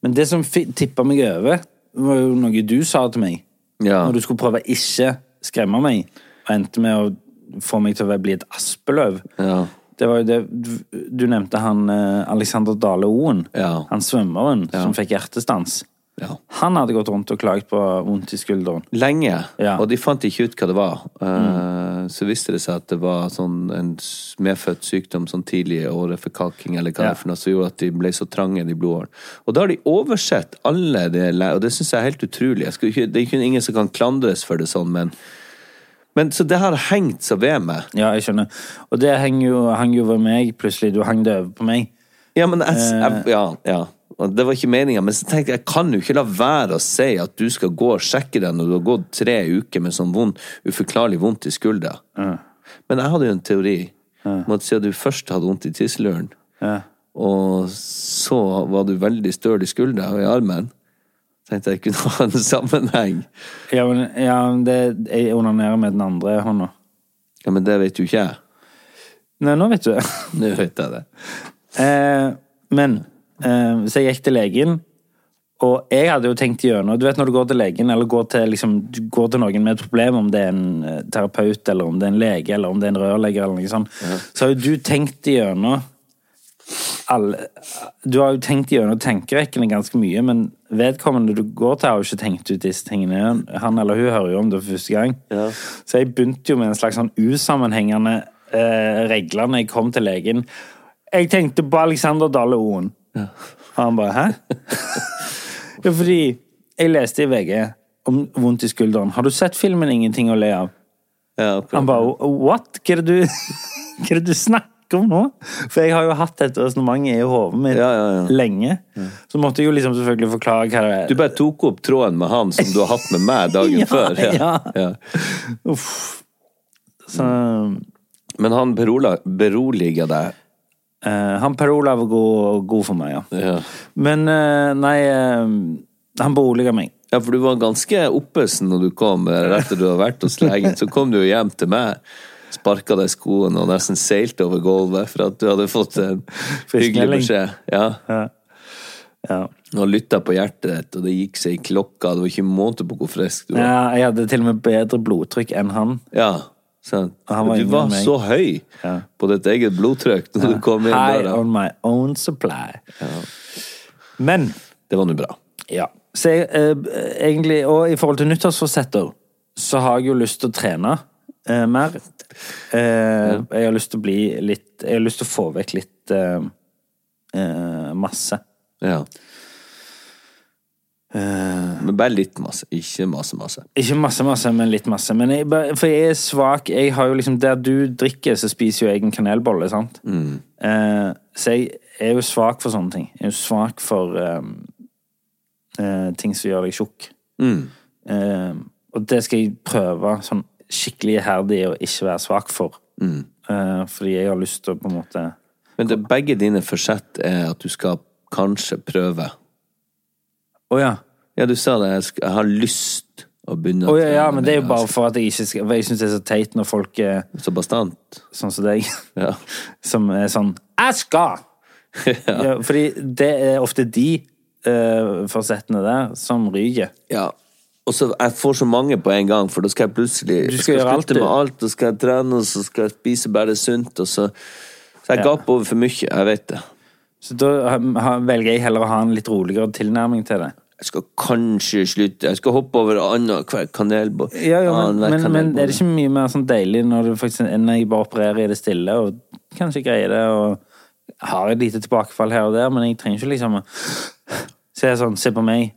Speaker 1: Men det som fi- tippa meg over, var jo noe du sa til meg.
Speaker 2: Ja.
Speaker 1: Når du skulle prøve å ikke skremme meg, og endte med å få meg til å bli et aspeløv.
Speaker 2: Ja.
Speaker 1: Det var jo det du- Du nevnte han eh, Alexander Dale Oen,
Speaker 2: Ja.
Speaker 1: han svømmeren som fikk hjertestans.
Speaker 2: Ja.
Speaker 1: Han hadde gått rundt og klaget på vondt i skulderen.
Speaker 2: Lenge.
Speaker 1: Ja. Mm.
Speaker 2: Og de fant ikke ut hva det var. Eh, Så viste det seg at det var sånn en s- medfødt sykdom sånn tidlig i året for kalking eller hva det
Speaker 1: Ja.
Speaker 2: er for noe, som gjorde at de ble så trange, de blodårene. Og da har de oversett alle det le- og det syns jeg er helt utrolig. Jeg skulle ikke, det er ikke ingen som kan klandres for det sånn, men, men Så det har hengt seg ved meg.
Speaker 1: Ja, jeg skjønner. Og det hang jo, hang jo over meg plutselig. Du hang det over på meg.
Speaker 2: Ja, men jeg,
Speaker 1: Eh.
Speaker 2: jeg, ja, ja. Og Det var ikke meninga, men så tenkte jeg jeg kan jo ikke la være å si at du skal gå og sjekke deg når du har gått tre uker med sånn vond, uforklarlig vondt i skuldra.
Speaker 1: Eh.
Speaker 2: Men jeg hadde jo en teori om at siden du først hadde vondt i tisseløren,
Speaker 1: Eh.
Speaker 2: og så var du veldig støl i skuldra og i armen, tenkte jeg kunne ha en sammenheng.
Speaker 1: Ja, men, ja, men det, jeg onanerer med den andre hånda.
Speaker 2: Ja, men det vet jo ikke jeg.
Speaker 1: Nei, nå vet du.
Speaker 2: Nå vet jeg det.
Speaker 1: eh, men eh, Så jeg gikk til legen, og jeg hadde jo tenkt gjennom Du vet når du går til legen, eller går til, liksom, du går til noen med et problem, om det er en eh, terapeut, eller om det er en lege, eller om det er en rørlegger, eller noe sånt, så har jo du tenkt gjennom alle Du har jo tenkt gjennom tenkerekkene ganske mye, men vedkommende du går til, har jo ikke tenkt ut disse tingene. Han eller hun hører jo om det for første gang. Så jeg begynte jo med en slags sånn usammenhengende eh, regler når jeg kom til legen. Jeg tenkte på Alexander Dale Oen. Og han bare 'hæ?' ja, fordi jeg leste i VG om vondt i skulderen. Har du sett filmen 'Ingenting å le av'?
Speaker 2: Ja,
Speaker 1: Han
Speaker 2: akkurat.
Speaker 1: bare What? Hva er det du, hva er det du snakker om nå? For jeg har jo hatt dette resonnementet i hodet mitt
Speaker 2: Ja, ja, ja.
Speaker 1: lenge. Så måtte jeg jo liksom selvfølgelig forklare hva det
Speaker 2: Du bare tok opp tråden med han som du har hatt med meg dagen
Speaker 1: Ja,
Speaker 2: før.
Speaker 1: ja.
Speaker 2: ja.
Speaker 1: er. Uff. Så
Speaker 2: Men han berola- beroliger deg.
Speaker 1: eh, han Per Olav var god, god for meg, ja.
Speaker 2: Ja.
Speaker 1: Men eh, nei eh, Han beroliger meg.
Speaker 2: ja, for du var ganske oppesen når du kom. eller Etter du hadde vært hos legen, så kom du jo hjem til meg. Sparka deg i skoen og nesten seilte over gulvet for at du hadde fått en hyggelig
Speaker 1: melding.
Speaker 2: beskjed. Ja.
Speaker 1: Ja.
Speaker 2: Og lytta på hjertet ditt, og det gikk seg i klokka. Det var ikke måte på hvor frisk du var.
Speaker 1: ja. Jeg hadde til og med bedre blodtrykk enn han.
Speaker 2: Ja, sant.
Speaker 1: Han var
Speaker 2: du
Speaker 1: yngre
Speaker 2: var
Speaker 1: enn meg.
Speaker 2: så høy på ditt eget blodtrykk når du kom inn
Speaker 1: High
Speaker 2: døra.
Speaker 1: on my own supply. Men
Speaker 2: Det var nå bra.
Speaker 1: Ja. Så jeg, eh, egentlig, og i forhold til nyttårsforsetter, så har jeg jo lyst til å trene eh, mer. Eh, Jeg har lyst til å bli litt Jeg har lyst til å få vekk litt eh, eh, masse.
Speaker 2: Ja.
Speaker 1: Eh.
Speaker 2: Men bare litt masse. Ikke masse, masse.
Speaker 1: Ikke masse, masse, men litt masse. Men jeg, bare- for jeg er svak jeg har jo liksom, Der du drikker, så spiser jo jeg en kanelbolle, sant? Eh, så jeg er jo svak for sånne ting. Jeg er jo svak for eh, eh, ting som gjør deg tjukk. Eh, og det skal jeg prøve sånn skikkelig iherdig å ikke være svak for. Eh, fordi jeg har lyst til å på en måte
Speaker 2: Men det, begge dine forsett er at du skal kanskje prøve.
Speaker 1: Å ja.
Speaker 2: Ja, du sa det. Jeg, sk- jeg har lyst å begynne
Speaker 1: Å
Speaker 2: å
Speaker 1: ja, ja, men det er jo
Speaker 2: mer,
Speaker 1: bare for at jeg ikke skal for Jeg syns det er så teit når folk er
Speaker 2: altså. Så bastant.
Speaker 1: sånn som deg.
Speaker 2: Ja.
Speaker 1: Som er sånn Jeg skal! ja, fordi det er ofte de eh, forsettene der som ryker.
Speaker 2: ja. Og så jeg får så mange på en gang, for da skal jeg plutselig
Speaker 1: Du skal
Speaker 2: jeg
Speaker 1: gjøre alt,
Speaker 2: slutte
Speaker 1: du.
Speaker 2: med alt, og skal jeg trene, og så skal jeg spise bare sunt, og så Så jeg
Speaker 1: Ja.
Speaker 2: gaper over for mye. Jeg vet det.
Speaker 1: Så da ha- ha- velger jeg heller å ha en litt roligere tilnærming til det.
Speaker 2: Jeg skal kanskje slutte. Jeg skal hoppe over annenhver kanelbolle.
Speaker 1: Ja, ja, men, men,
Speaker 2: Annenhver
Speaker 1: men er
Speaker 2: kanelbolle.
Speaker 1: det ikke mye mer sånn deilig når, du faktisk, enn når jeg bare opererer i det stille og kanskje greier det og har et lite tilbakefall her og der, men jeg trenger ikke liksom å se sånn Se på meg.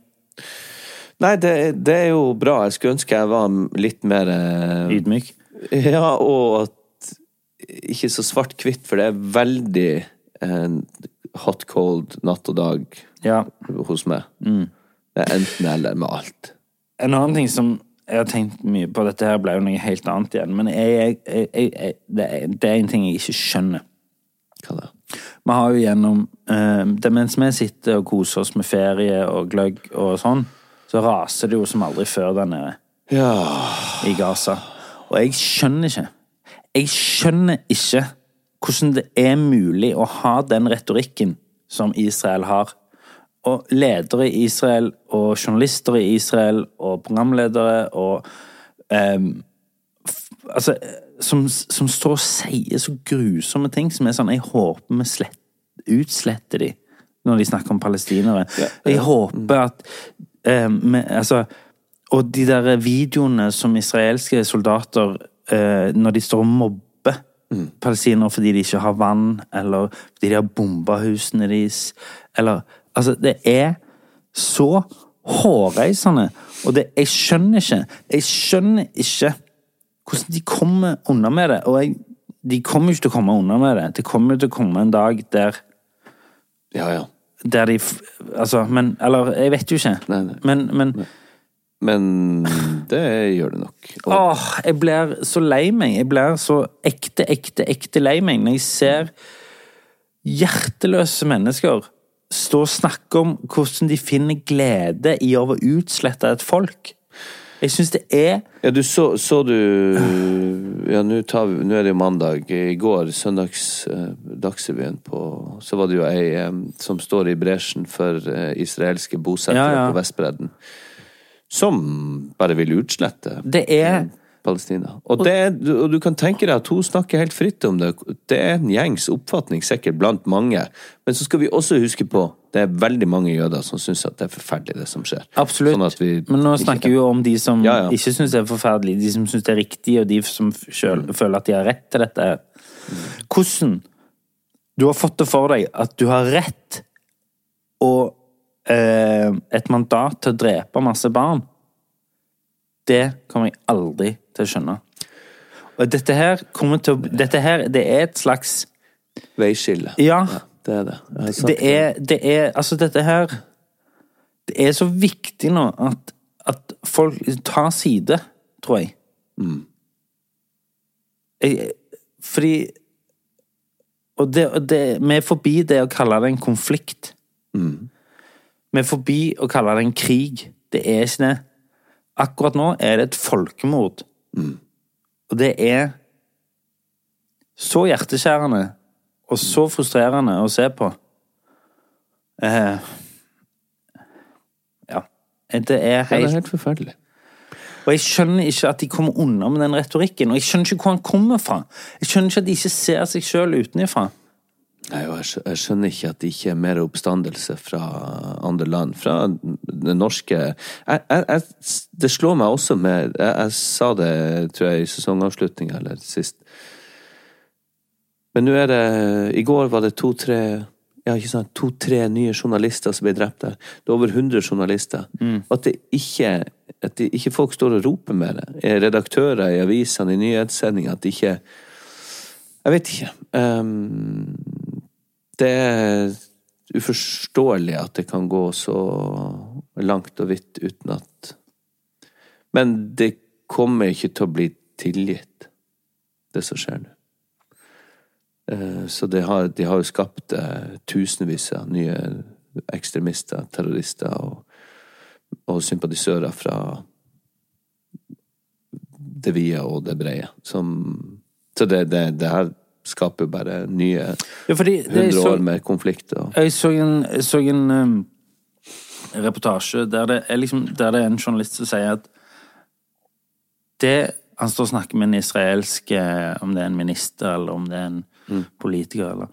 Speaker 2: Nei, det, det er jo bra. Jeg skulle ønske jeg var m- litt mer eh,
Speaker 1: Ydmyk.
Speaker 2: Ja, og at ikke så svart-hvitt, for det er veldig eh, hot cold natt og dag
Speaker 1: Ja.
Speaker 2: hos meg. Det er enten eller med alt.
Speaker 1: En annen ting som Jeg har tenkt mye på dette her, ble jo noe helt annet igjen. Men jeg, jeg, jeg, jeg, det, er, det er en ting jeg ikke skjønner.
Speaker 2: Hva da?
Speaker 1: Vi har jo gjennom eh, det Mens vi sitter og koser oss med ferie og gløgg og sånn, så raser det jo som aldri før der nede
Speaker 2: Ja
Speaker 1: i Gaza. Og jeg skjønner ikke. Jeg skjønner ikke hvordan det er mulig å ha den retorikken som Israel har. Og ledere i Israel, og journalister i Israel, og programledere og ehm, f- Altså, som, som står og sier så grusomme ting som er sånn Jeg håper vi slett, utsletter de når de snakker om palestinere. Jeg håper at eh, men, altså, Og de der videoene som israelske soldater eh, Når de står og mobber palestinere fordi de ikke har vann, eller fordi de har bomba husene deres Eller Altså, det er så hårreisende, og det, jeg skjønner ikke Jeg skjønner ikke hvordan de kommer unna med det. Og jeg, de kommer jo ikke til å komme unna med det. Det kommer jo til å komme en dag der,
Speaker 2: Ja, ja.
Speaker 1: der de f- Altså, men Eller, jeg vet jo ikke.
Speaker 2: Nei, nei.
Speaker 1: Men, men
Speaker 2: Men det gjør det nok. Og
Speaker 1: Åh, jeg blir så lei meg. Jeg blir så ekte, ekte, ekte lei meg når jeg ser hjerteløse mennesker stå og snakke om hvordan de finner glede i å utslette et folk. Jeg syns det er
Speaker 2: ja, du så, så du Ja, nå tar vi- nå er det jo mandag. I går, søndags eh, Dagsrevyen på Så var det jo ei eh, som står i bresjen for eh, israelske bosettere
Speaker 1: Ja, ja.
Speaker 2: på Vestbredden. Som bare vil utslette eh,
Speaker 1: Det er
Speaker 2: Palestina. Og, det, er- du- og du kan tenke deg at hun snakker helt fritt om det. Det er en gjengs oppfatning, sikkert blant mange. Men så skal vi også huske på det er veldig mange jøder som syns at det er forferdelig, det som skjer.
Speaker 1: Absolutt.
Speaker 2: Sånn at vi
Speaker 1: Men nå
Speaker 2: ikke-
Speaker 1: snakker vi jo om de som
Speaker 2: Ja, ja.
Speaker 1: ikke syns det er forferdelig, de som syns det er riktig, og de som selv,
Speaker 2: Mm.
Speaker 1: føler at de har rett til dette. Hvordan du har fått det for deg at du har rett og eh, et mandat til å drepe masse barn, det kommer jeg aldri til å skjønne. Og dette her kommer til å Dette her, det er et slags
Speaker 2: Veiskille.
Speaker 1: Ja.
Speaker 2: Det er det. Jeg har sagt
Speaker 1: Det er, det er Altså, dette her Det er så viktig nå at, at folk tar side, tror jeg. jeg fordi Og, det, og det, vi er forbi det å kalle det en konflikt. Vi er forbi å kalle det en krig. Det er ikke det. Akkurat nå er det et folkemord. Og det er så hjerteskjærende og så frustrerende å se på. Eh, ja. Det er
Speaker 2: Ja, det er
Speaker 1: helt
Speaker 2: helt forferdelig.
Speaker 1: Og jeg skjønner ikke at de kommer unna med den retorikken. Og jeg skjønner ikke hvor han kommer fra. Jeg skjønner ikke at de ikke ser seg sjøl utenfra.
Speaker 2: Nei, og jeg skj- jeg skjønner ikke at det ikke er mer oppstandelse fra andre land. Fra det norske jeg, jeg, jeg, Det slår meg også med jeg, jeg sa det, tror jeg, i sesongavslutninga eller sist. Men nå er det I går var det to-tre ja, ikke sant, to-tre nye journalister som ble drept der. Det er over 100 journalister. At, det ikke, at det ikke folk står og roper med det. Eh, Redaktører i avisene, i nyhetssendinger. At det ikke Jeg vet ikke. Ehm, det er uforståelig at det kan gå så langt og vidt uten at Men det kommer ikke til å bli tilgitt, det som skjer nå. Eh, Så det har, de har jo skapt eh, tusenvis av nye ekstremister, terrorister og, og sympatisører fra det vide og det brede. Som, så det, det, det her skaper jo bare nye
Speaker 1: Ja, fordi det er
Speaker 2: 100
Speaker 1: så,
Speaker 2: år med konflikt og
Speaker 1: Jeg så en, jeg så en um, reportasje der det, er liksom, der det er en journalist som sier at det Han står og snakker med en israelsk eh, Om det er en minister, eller om det er en politiker, eller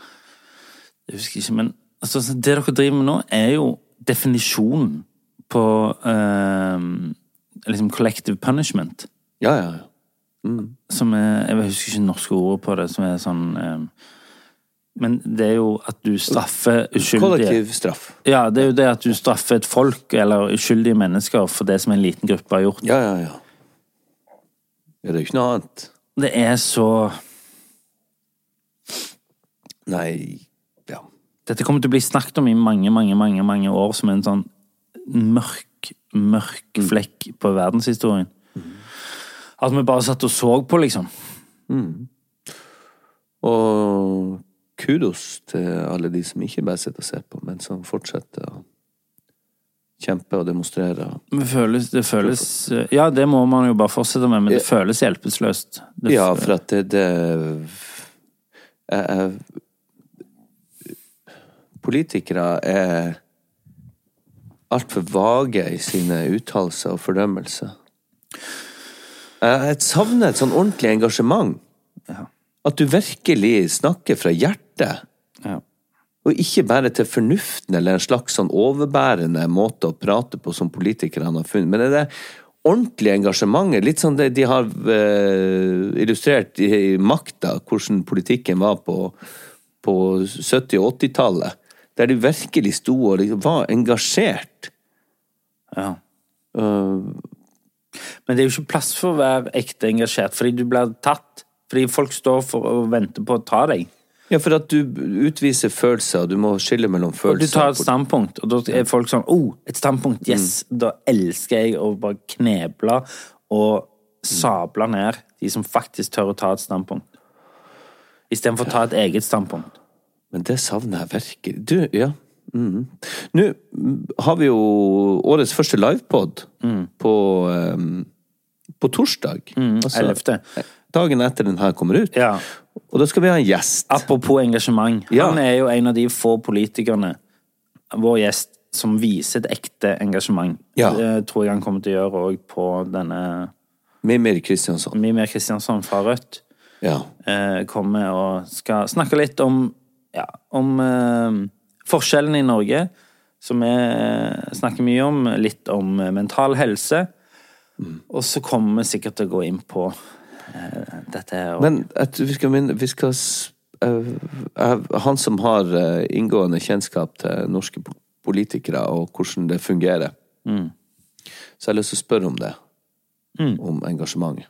Speaker 1: Jeg husker ikke, men altså, så det dere driver med nå, er jo definisjonen på eh, liksom collective punishment
Speaker 2: Ja, ja, ja.
Speaker 1: som er Jeg husker ikke norske ordet på det, som er sånn eh, Men det er jo at du straffer uskyldige
Speaker 2: Kollektiv straff.
Speaker 1: Ja, det er jo det at du straffer et folk eller uskyldige mennesker for det som en liten gruppe har gjort.
Speaker 2: Ja, ja, ja. Ja, det er jo ikke noe annet.
Speaker 1: Det er så
Speaker 2: Nei Ja.
Speaker 1: Dette kommer til å bli snakket om i mange, mange, mange
Speaker 2: Mm.
Speaker 1: mange år som en sånn mørk, mørk flekk på verdenshistorien. At vi bare satt og så på, liksom.
Speaker 2: Og kudos til alle de som ikke bare sitter og ser på, men som fortsetter å kjempe og demonstrere.
Speaker 1: Det føles, det føles Ja, det må man jo bare fortsette med, men det føles hjelpeløst. Det
Speaker 2: Ja,
Speaker 1: fø-
Speaker 2: for at det, det jeg, jeg, Politikere er altfor vage i sine uttalelser og fordømmelser. Jeg, jeg savner et sånn ordentlig engasjement. At du virkelig snakker fra hjertet.
Speaker 1: ja.
Speaker 2: Og ikke bare til fornuften eller en slags sånn overbærende måte å prate på som politikerne har funnet. Men det er det ordentlige engasjementet, litt sånn det de har eh, illustrert i, i makta, hvordan politikken var på, på 70- og 80-tallet. Der de virkelig sto og liksom var engasjert.
Speaker 1: Ja. Men det er jo ikke plass for å være ekte engasjert, fordi du blir tatt. Fordi folk står for å vente på å ta deg.
Speaker 2: Ja, for at du utviser følelser, du må skille mellom
Speaker 1: Du
Speaker 2: følelser. Mm.
Speaker 1: tar et standpunkt, og da er folk sånn oh, et standpunkt, yes! Da elsker jeg å bare kneble
Speaker 2: Mm.
Speaker 1: og sable ned de som faktisk tør å ta et standpunkt. Istedenfor å ta et eget standpunkt.
Speaker 2: Men det savner jeg virkelig. Du, ja. Mhm. Nå har vi jo årets første livepod på, ehm, på torsdag. Altså,
Speaker 1: 11..
Speaker 2: Dagen etter den her kommer ut.
Speaker 1: Ja.
Speaker 2: Og da skal vi ha en gjest.
Speaker 1: Apropos engasjement.
Speaker 2: Ja.
Speaker 1: Han er jo en av de få politikerne, vår gjest, som viser et ekte engasjement.
Speaker 2: Ja.
Speaker 1: Det tror jeg han kommer til å gjøre òg på denne
Speaker 2: Mimir Kristiansson.
Speaker 1: Mimir Kristiansson fra Rødt.
Speaker 2: Ja.
Speaker 1: Eh, kommer og skal snakke litt om, ja, om eh, forskjellene i Norge, som vi eh, snakker mye om. Litt om eh, mental helse. Og så kommer vi sikkert til å gå inn på eh, dette her. og-
Speaker 2: Men jeg tror vi skal minne vi skal, s- eh, eh, Han som har eh, inngående kjennskap til norske po- politikere og hvordan det fungerer, Mm. så jeg har lyst til å spørre om det. Om engasjementet.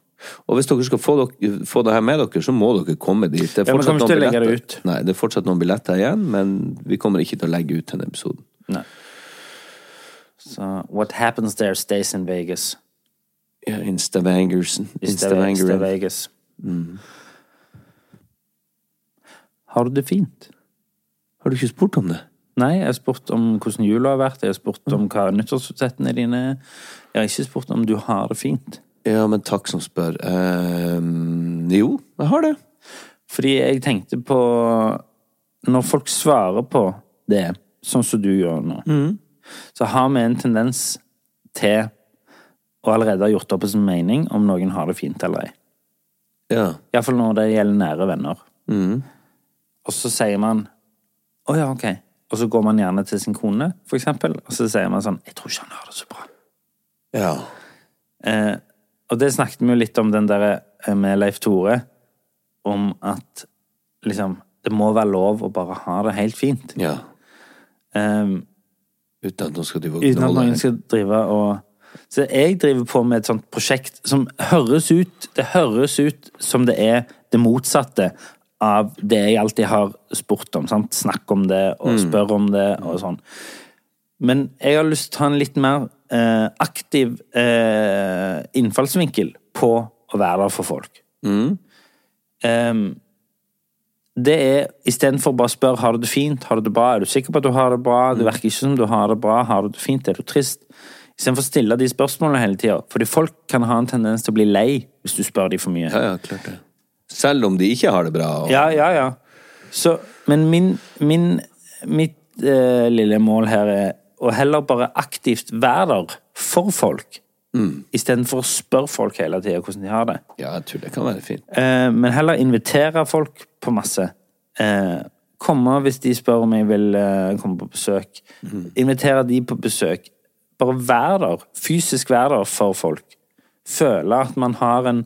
Speaker 2: Og hvis dere skal få, dere, få det her med dere, så må dere komme dit. Det er
Speaker 1: Ja, men
Speaker 2: fortsatt,
Speaker 1: kan vi
Speaker 2: noen,
Speaker 1: ikke legge det
Speaker 2: billetter.
Speaker 1: ut?
Speaker 2: Nei, det er fortsatt noen billetter igjen, men vi kommer ikke til å legge ut denne episoden.
Speaker 1: Nei. Så What happens there stays in Vegas.
Speaker 2: Ja, Instavangersen.
Speaker 1: Insta
Speaker 2: Instavangersen.
Speaker 1: Vegas. Har du det fint?
Speaker 2: Har du ikke spurt om det?
Speaker 1: Nei, jeg har spurt om hvordan jula har vært, jeg har spurt om hva nyttårsforsettene dine er. Jeg har ikke spurt om du har det fint.
Speaker 2: Ja, men takk som spør. Eh, jo, jeg har det.
Speaker 1: Fordi jeg tenkte på Når folk svarer på det, sånn som du gjør nå, så har vi en tendens til å allerede ha gjort opp en mening om noen har det fint eller ei.
Speaker 2: Ja.
Speaker 1: Iallfall når det gjelder nære venner. Og så sier man 'Å ja, ok'. Og så går man gjerne til sin kone, for eksempel, og så sier man sånn 'Jeg tror ikke han har det så bra'.
Speaker 2: ja.
Speaker 1: Eh, og det snakket vi jo litt om den der eh, med Leif Tore, om at liksom Det må være lov å bare ha det helt fint.
Speaker 2: Ja,
Speaker 1: Eh,
Speaker 2: uten at noen skal drive og
Speaker 1: uten at
Speaker 2: gnåle.
Speaker 1: noen skal drive og Så jeg driver på med et sånt prosjekt som høres ut Det høres ut som det er det motsatte av det jeg alltid har spurt om. Sant? Snakk om det, og spør om det, og sånn. Men jeg har lyst til å ha en litt mer eh, aktiv eh, innfallsvinkel på å være der for folk. Ehm, det er istedenfor bare å spørre har du det fint, har du det bra, er du sikker på at du har det bra, det virker ikke som du har det bra, har du det fint, er du trist? Istedenfor å stille de spørsmålene hele tida. Fordi folk kan ha en tendens til å bli lei hvis du spør de for mye.
Speaker 2: Ja, ja, klart det. Selv om de ikke har det bra. Og...
Speaker 1: Ja, ja, ja. Så, men min, min, mitt eh, lille mål her er å heller bare aktivt være der for folk, mm. istedenfor å spørre folk hele tida hvordan de har det.
Speaker 2: Ja, jeg tror det kan være fint.
Speaker 1: Eh, men heller invitere folk på masse. Eh, komme hvis de spør om jeg vil eh, komme på besøk.
Speaker 2: Mm.
Speaker 1: Invitere de på besøk. Bare være der. Fysisk være der for folk. Føle at man har en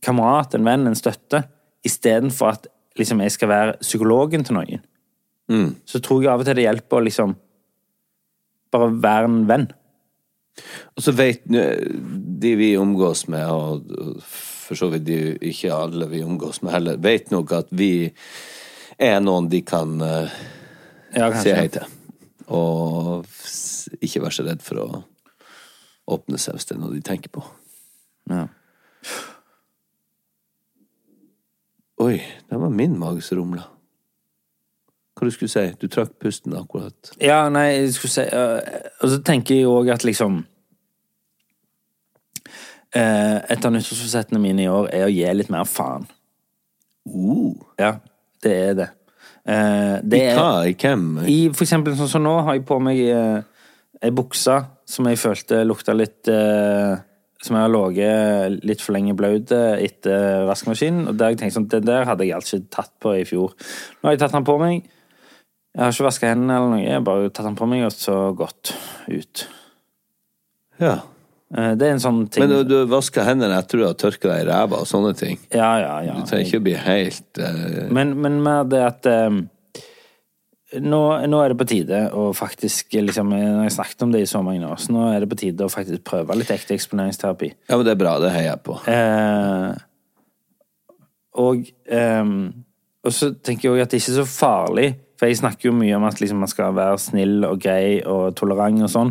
Speaker 1: kamerat, en venn, en støtte, istedenfor at liksom, jeg skal være psykologen til noen.
Speaker 2: Mm.
Speaker 1: Så tror jeg av og til det hjelper å liksom bare være en venn.
Speaker 2: Og så vet nå- de vi omgås med, og og for så vidt de, ikke alle vi omgås med heller, vet nok at vi er noen de kan eh,
Speaker 1: Ja,
Speaker 2: si hei til. Og s- ikke være så redd for å åpne seg hvis det er noe de tenker på.
Speaker 1: Ja.
Speaker 2: Oi, det var min mage som rumla. Hva du skulle si? Du trakk pusten akkurat.
Speaker 1: Ja, nei, jeg skulle si øh, Og så tenker jeg òg at liksom eh, Et av nyttårsforsettene mine i år er å gi litt mer faen. Ja, det er det. Eh, det er,
Speaker 2: Hva? I hvem?
Speaker 1: I for eksempel sånn som nå har jeg på meg eh, ei bukse som jeg følte lukta litt eh, Som jeg har ligget litt for lenge blaut eh, etter vaskemaskinen. Og der jeg tenkte sånn, den der hadde jeg altså ikke tatt på i fjor. Nå har jeg tatt den på meg. Jeg har ikke vaska hendene eller noe, jeg har bare tatt den på meg og så gått ut.
Speaker 2: Ja.
Speaker 1: Eh, Det er en sånn ting
Speaker 2: Men du, du vasker hendene etter du har tørka deg i ræva og sånne ting.
Speaker 1: Ja, ja, ja.
Speaker 2: Du trenger ikke å bli helt eh,
Speaker 1: Men, men mer det at eh, nå, nå er det på tide å faktisk liksom, Jeg har snakket om det i så mange år, så nå er det på tide å faktisk prøve litt ekte eksponeringsterapi.
Speaker 2: Ja, men det er bra. Det heier jeg på.
Speaker 1: Eh, og, ehm, og så tenker jeg også at det ikke er så farlig, for jeg snakker jo mye om at liksom, man skal være snill og grei og tolerant og sånn.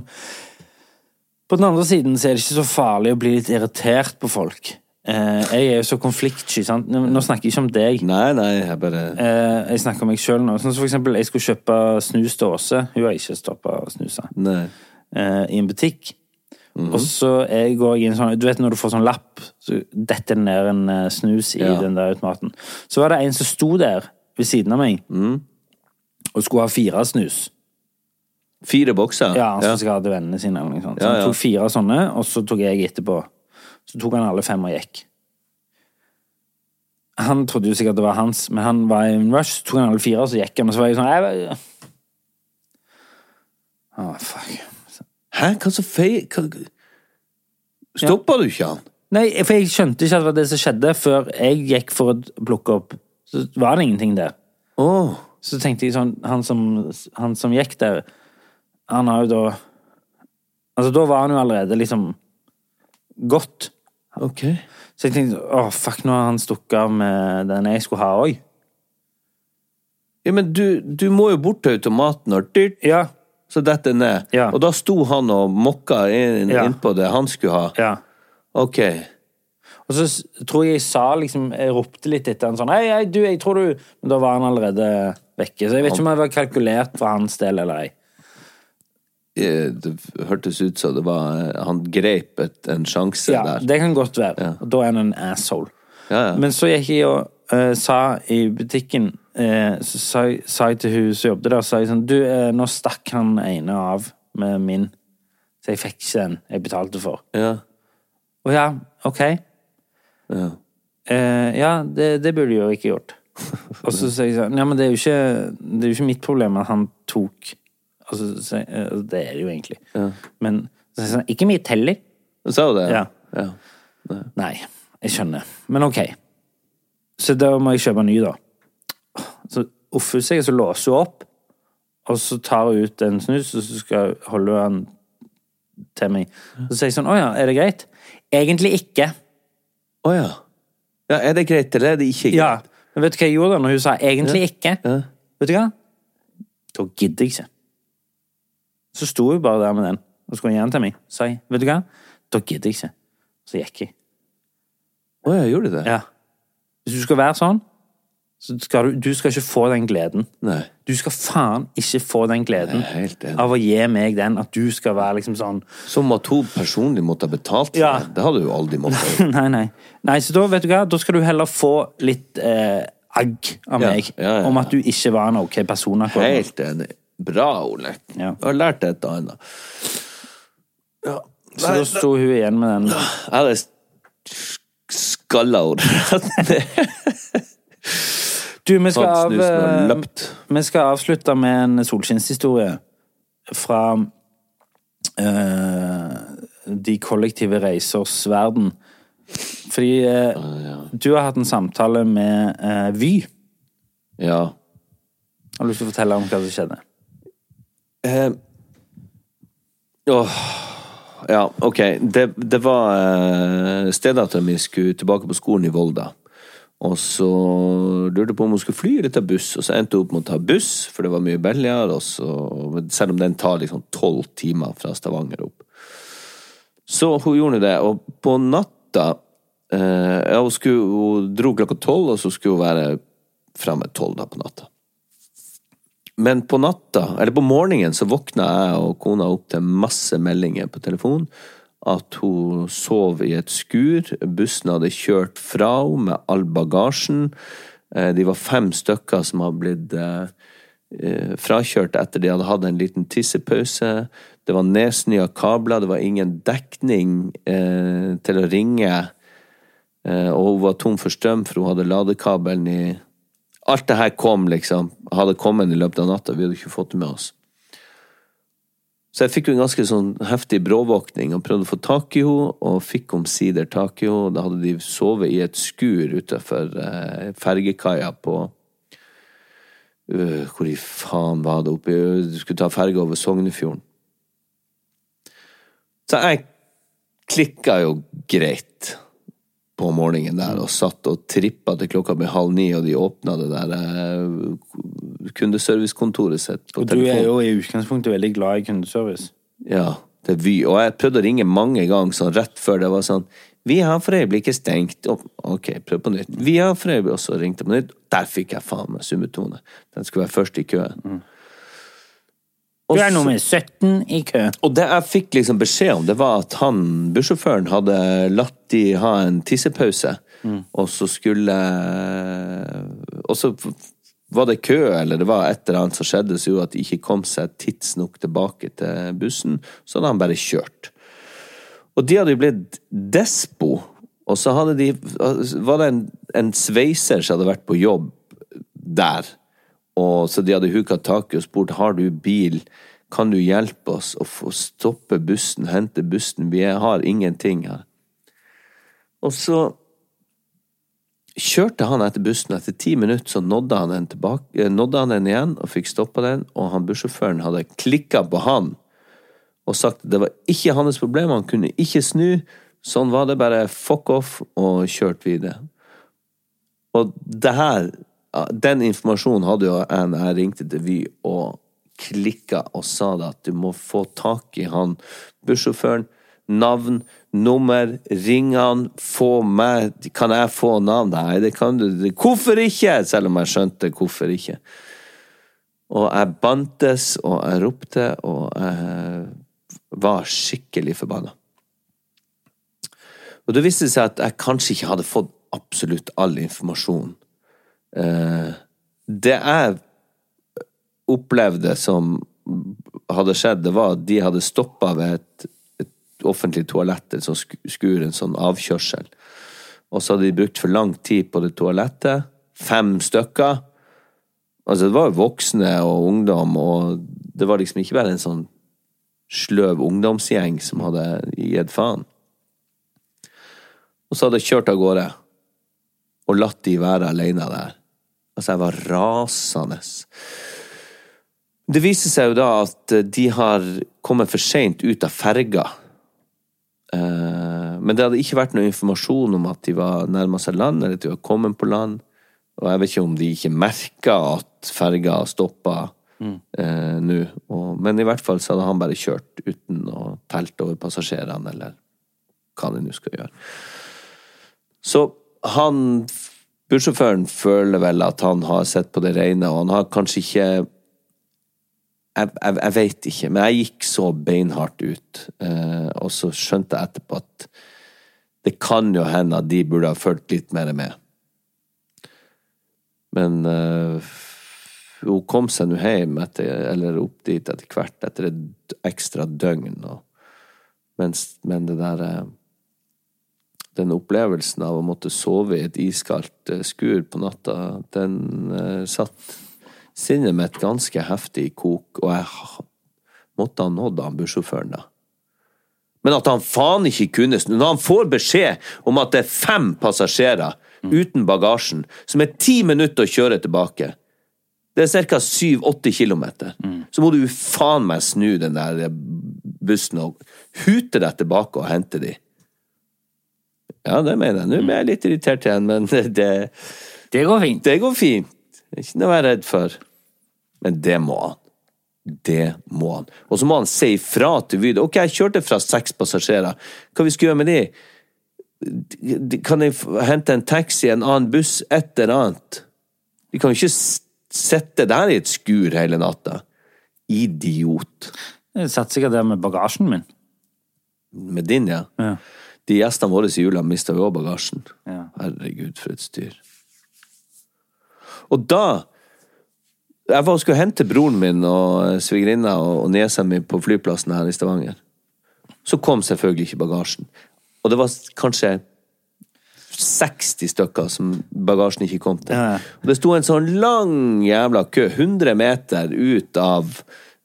Speaker 1: På den andre siden så er det ikke så farlig å bli litt irritert på folk. Eh, jeg er jo så konfliktsky, sant. Nå nå snakker jeg ikke om deg.
Speaker 2: Nei, nei, jeg bare
Speaker 1: Eh, jeg snakker om meg sjøl nå. Sånn som for eksempel, jeg skulle kjøpe snus til Åse. Hun har ikke stoppa å snuse.
Speaker 2: Nei.
Speaker 1: Eh, I en butikk. Og så er- går jeg inn sånn Du vet når du får sånn lapp, så detter det ned en eh, snus i
Speaker 2: Ja.
Speaker 1: den der automaten. Så var det en som sto der ved siden av meg og skulle ha fire snus.
Speaker 2: Fire bokser?
Speaker 1: Ja, han som skal ha til vennene sine. Eller noe sånt. Så
Speaker 2: Ja,
Speaker 1: han
Speaker 2: ja.
Speaker 1: tok fire sånne, og så tok jeg etterpå. Så tok han alle fem og gikk. Han trodde jo sikkert det var hans, men han var i en rush. Så tok han alle fire, og så gikk han, og så var jeg sånn «Nei, hva- Å, fuck.
Speaker 2: Hæ, hva så feil hva... Stoppa du ikke han?
Speaker 1: Nei, for jeg skjønte ikke at det var det som skjedde før jeg gikk for å plukke opp. Så var det ingenting der.
Speaker 2: Å,
Speaker 1: Så tenkte jeg sånn, han som, han som gikk der, han har jo da Altså, da var han jo allerede liksom gått.
Speaker 2: ok.
Speaker 1: Så jeg tenkte å fuck, nå har han stukket av med den jeg skulle ha òg.
Speaker 2: Ja, men du, du må jo bort til automaten når dyrt,
Speaker 1: Ja.
Speaker 2: så detter det ned.
Speaker 1: Ja.
Speaker 2: Og da sto han og mokka inn,
Speaker 1: Ja.
Speaker 2: innpå det han skulle ha.
Speaker 1: ja.
Speaker 2: Ok. Eh,
Speaker 1: Og så s- tror jeg jeg sa liksom Jeg ropte litt etter han sånn Hei, hei, du, jeg tror du Men da var han allerede vekke. Så jeg vet ikke om det var kalkulert for hans del eller ei.
Speaker 2: Eh, Det hørtes ut som det var eh, Han greip et, en sjanse
Speaker 1: Ja,
Speaker 2: der.
Speaker 1: det kan godt være. Og da er han en asshole.
Speaker 2: Ja, ja.
Speaker 1: Men så gikk jeg og eh, sa i butikken eh, Så sa, jeg- sa jeg til hun som jobbet der, sa jeg sånn Du, eh, nå stakk han ene av med min, så jeg fikk ikke den jeg betalte for.
Speaker 2: ja.
Speaker 1: Å ja, ok.
Speaker 2: Ja.
Speaker 1: Eh, ja, det, det burde du jo ikke gjort. Og så sier jeg sånn Ja, men det er jo ikke, det er jo ikke mitt problem at han tok Og så sier jeg, eh, Det er det jo egentlig. Men så sier jeg sånn Ikke mitt heller.
Speaker 2: Sa hun det?
Speaker 1: Ja.
Speaker 2: ja.
Speaker 1: Nei, jeg skjønner. Men ok. Så da må jeg kjøpe en ny, da. Så offer hun seg, og så låser hun opp. Og så tar hun ut en snus, og så skal holder hun den til meg. Så sier jeg sånn Å ja, er det greit? Egentlig ikke.
Speaker 2: Å ja. ja. Er det greit, eller er det ikke greit?
Speaker 1: Ja. Men vet du hva jeg gjorde da når hun sa 'egentlig ikke'? Vet du hva? Da gidder jeg ikke. Så sto hun bare der med den, og skulle gi den til meg. Så sa jeg 'vet du hva', da gidder jeg ikke. Så gikk jeg.
Speaker 2: Å ja, gjorde du det?
Speaker 1: Ja. Hvis du skal være sånn, så skal du, du skal ikke få den gleden.
Speaker 2: Nei.
Speaker 1: Du skal faen ikke få den gleden
Speaker 2: Jeg er helt enig.
Speaker 1: av å gi meg den, at du skal være liksom sånn
Speaker 2: Som at hun personlig måtte ha betalt for
Speaker 1: Ja.
Speaker 2: det. Det hadde hun jo aldri måttet gjøre.
Speaker 1: Nei, nei. Nei, så da, vet du hva, da skal du heller få litt eh, agg av
Speaker 2: Ja,
Speaker 1: meg
Speaker 2: ja, ja, ja.
Speaker 1: om at du ikke var en ok person akkurat nå.
Speaker 2: Helt enig. Bra, Ole.
Speaker 1: Ja.
Speaker 2: Jeg har lært et og annet.
Speaker 1: Så da sto hun igjen med den.
Speaker 2: Jeg hadde sk- skalla henne rett ned.
Speaker 1: Du, vi skal,
Speaker 2: Tatt
Speaker 1: av,
Speaker 2: snusen og
Speaker 1: eh,
Speaker 2: løpt.
Speaker 1: vi skal avslutte med en solskinnshistorie fra eh, De kollektive reisers verden. Fordi eh, du har hatt en samtale med eh, Vy.
Speaker 2: Ja.
Speaker 1: Har du lyst til å fortelle om hva som skjedde?
Speaker 2: Eh, åh. Ja, ok. Det, det var eh, stedatteren min skulle tilbake på skolen i Volda. Og så lurte jeg på om hun skulle fly eller ta buss, og så endte hun opp med å ta buss, for det var mye billigere, og så- men selv om den tar liksom tolv timer fra Stavanger opp. Så hun gjorde nå det, og på natta Eh, ja, hun, skulle, hun dro klokka tolv, og så skulle hun være framme tolv da på natta. Men på natta, eller på morgenen, så våkna jeg og kona opp til masse meldinger på telefon. At hun sov i et skur. Bussen hadde kjørt fra henne med all bagasjen. Eh, De var fem stykker som hadde blitt eh, eh, frakjørt etter de hadde hatt en liten tissepause. Det var nedsnøa kabler, det var ingen dekning eh, til å ringe. Eh, og hun var tom for strøm, for hun hadde ladekabelen i Alt det her kom, liksom. Hadde kommet i løpet av natta. Vi hadde ikke fått det med oss. Så jeg fikk jo en ganske sånn heftig bråvåkning og prøvde å få tak i henne, og fikk omsider tak i henne. Da hadde de sovet i et skur utafor eh, fergekaia på øh, Hvor i faen var det oppe i Du skulle ta ferge over Sognefjorden. Så jeg klikka jo greit på morgenen der og satt og trippa til klokka ble halv ni, og de åpna det der eh, kundeservicekontoret sitt på
Speaker 1: Og du er jo i utgangspunktet veldig glad i kundeservice.
Speaker 2: Ja, det er Vy. Og jeg prøvde å ringe mange ganger sånn rett før det var sånn Vi har for øyeblikket stengt. Og, ok, prøv på nytt. Vi har for øyeblikket Og så ringte jeg på nytt. Der fikk jeg faen meg summetone. Den skulle være først i køen.
Speaker 1: Mm.
Speaker 2: Og
Speaker 1: Du er
Speaker 2: så-
Speaker 1: nummer 17 i kø.
Speaker 2: og det jeg fikk liksom beskjed om, det var at han, bussjåføren hadde latt de ha en tissepause, og så skulle Og så var det kø, eller det var et eller annet som skjedde som gjorde at de ikke kom seg tidsnok tilbake til bussen, så hadde han bare kjørt. Og de hadde jo blitt despo, og så hadde de altså, Var det en, en sveiser som hadde vært på jobb der? Og så de hadde huka tak i og spurt har du bil, kan du hjelpe oss å få stoppe bussen, hente bussen, vi har ingenting her. Og så kjørte han etter bussen, etter ti minutter så nådde han den, tilbake, eh, nådde han den igjen og fikk stoppa den, og han bussjåføren hadde klikka på han og sagt at det var ikke hans problem, han kunne ikke snu, sånn var det, bare fuck off, og kjørte videre. Og det her Den informasjonen hadde jo jeg når jeg ringte til Vy og klikka og sa det at du må få tak i han bussjåføren. Navn, nummer, ring han, få meg Kan jeg få navn? Nei, det kan du det- Hvorfor ikke? Selv om jeg skjønte hvorfor ikke. Og jeg bantes, og jeg ropte, og jeg var skikkelig forbanna. Og det viste det seg at jeg kanskje ikke hadde fått absolutt all informasjon. Eh, det jeg opplevde som hadde skjedd, det var at de hadde stoppa ved et, et offentlig toalett, et sånt sku- skur, en sånn avkjørsel. Og så hadde de brukt for lang tid på det toalettet. Fem stykker. Altså, det var jo voksne og ungdom, og det var liksom ikke bare en sånn sløv ungdomsgjeng som hadde gitt faen. Og så hadde jeg kjørt av gårde og latt de være alene der. Altså, jeg var rasende. Det viser seg jo da at eh, de har kommet for seint ut av ferga. Eh, Men det hadde ikke vært noe informasjon om at de var nærma seg land, eller at de var kommet på land. Og jeg vet ikke om de ikke merka at ferga stoppa eh, nå. Og- Men i hvert fall så hadde han bare kjørt uten å telte over passasjerene, eller hva de nå skal gjøre. Så han Bussjåføren føler vel at han har sett på det rene, og han har kanskje ikke Jeg, jeg, jeg veit ikke, men jeg gikk så beinhardt ut, eh, og så skjønte jeg etterpå at det kan jo hende at de burde ha fulgt litt mer med. Men eh, hun kom seg nå hjem, etter, eller opp dit etter hvert, etter et ekstra døgn. Og, mens, men det der eh, den opplevelsen av å måtte sove i et iskaldt eh, skur på natta, den eh, satt sinnet mitt ganske heftig i kok, og jeg ha- måtte ha nådd han bussjåføren da. Men at han faen ikke kunne snu Når han får beskjed om at det er fem passasjerer uten bagasjen, som er ti minutter å kjøre tilbake Det er ca. 7-8 km. Så må du faen meg snu den der bussen og hute deg tilbake og hente de. Ja, det mener jeg. Nå ble jeg litt irritert igjen, men det,
Speaker 1: Det går fint.
Speaker 2: det går fint. Det er ikke noe å være redd for. Men det må han. Det må han. Og så må han si ifra til Vyd. Ok, jeg kjørte fra seks passasjerer. Hva vi skulle gjøre med de? de- de- Kan jeg f- hente en taxi, en annen buss, et eller annet? De kan jo ikke s- sitte der i et skur hele natta. Idiot.
Speaker 1: Jeg satt sikkert der med bagasjen min.
Speaker 2: Med din, ja.
Speaker 1: Ja.
Speaker 2: De gjestene våre i jula mista jo òg bagasjen.
Speaker 1: Ja.
Speaker 2: Herregud, for et styr. Og da Jeg var og skulle hente broren min og eh, svigerinna og og niesa mi på flyplassen her i Stavanger. Så kom selvfølgelig ikke bagasjen. Og det var s- kanskje 60 stykker som bagasjen ikke kom til.
Speaker 1: Ja.
Speaker 2: Og det sto en sånn lang jævla kø, 100 meter ut av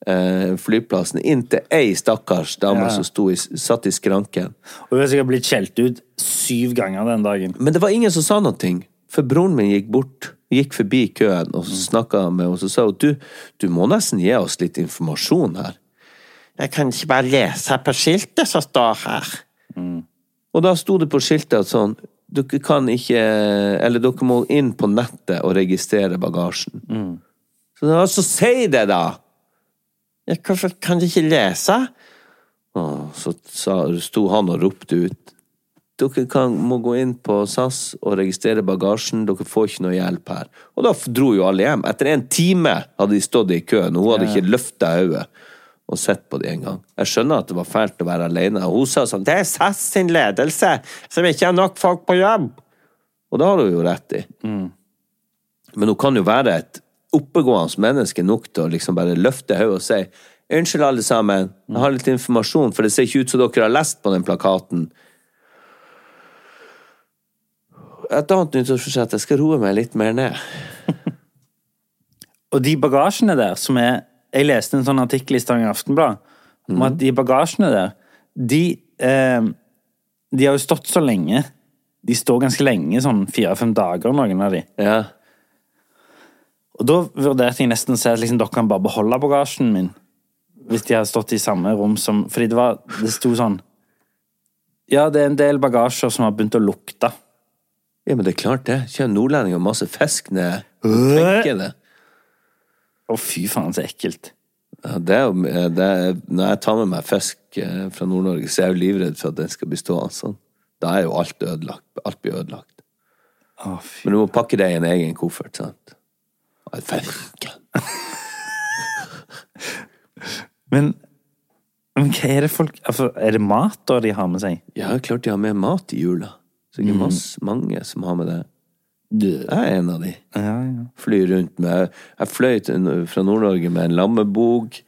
Speaker 2: eh, flyplassen, inn til ei stakkars dame som sto i, s- satt i skranken.
Speaker 1: Og hun er sikkert blitt skjelt ut syv ganger den dagen.
Speaker 2: Men det var ingen som sa noe. For broren min gikk bort, gikk forbi køen og snakka med henne og sa hun, du, du må nesten gi oss litt informasjon her. Jeg kan ikke bare lese på skiltet som står her. Og da sto det på skiltet at sånn Dere kan ikke Eller dere må inn på nettet og registrere bagasjen. Så, da, så si det, da! Ja, hvorfor kan de ikke lese? Å, så sa, sto han og ropte ut dere kan, må gå inn på SAS og registrere bagasjen, dere får ikke noe hjelp her. Og da f- dro jo alle hjem. Etter en time hadde de stått i køen, og hun hadde ikke løfta hodet og sett på det engang. Jeg skjønner at det var fælt å være alene. Og hun sa sånn 'Det er SAS sin ledelse som ikke har nok folk på jobb'. Og det har hun jo rett i. Men hun kan jo være et oppegående menneske nok til å liksom bare løfte hodet og si Unnskyld, alle sammen, jeg har litt informasjon, for det ser ikke ut som dere har lest på den plakaten. Et annet nyttårsforsett jeg skal roe meg litt mer ned.
Speaker 1: Og de bagasjene der som er Jeg leste en sånn artikkel i Stavanger Aftenblad om at de bagasjene der, de eh, De har jo stått så lenge. De står ganske lenge, sånn fire-fem dager, noen av de.
Speaker 2: Ja.
Speaker 1: Og da vurderte jeg nesten å si at liksom, dere kan bare beholde bagasjen min. Hvis de hadde stått i samme rom som Fordi det var Det sto sånn Ja, det er en del bagasjer som har begynt å lukte.
Speaker 2: ja, men det er klart det. Kjører nordlendinger masse fisk ned tenker det.
Speaker 1: Å, fy faen, så ekkelt.
Speaker 2: Ja, det er, jo- eh, det er, når jeg tar med meg fisk eh, fra Nord-Norge, så er jeg jo livredd for at den skal bli stående sånn. Da er jo alt ødelagt. Alt blir ødelagt.
Speaker 1: Å, fy.
Speaker 2: Men du må pakke det i en egen koffert, sant? Nei, Fisken.
Speaker 1: Men, men hva er det folk altså, Er det mat da de har med seg?
Speaker 2: Ja, klart de har med mat i jula. Så det er
Speaker 1: Mm.
Speaker 2: masse, mange som har med det. Jeg er en av de. Flyr rundt med Jeg fløy til- fra Nord-Norge med en lammebog,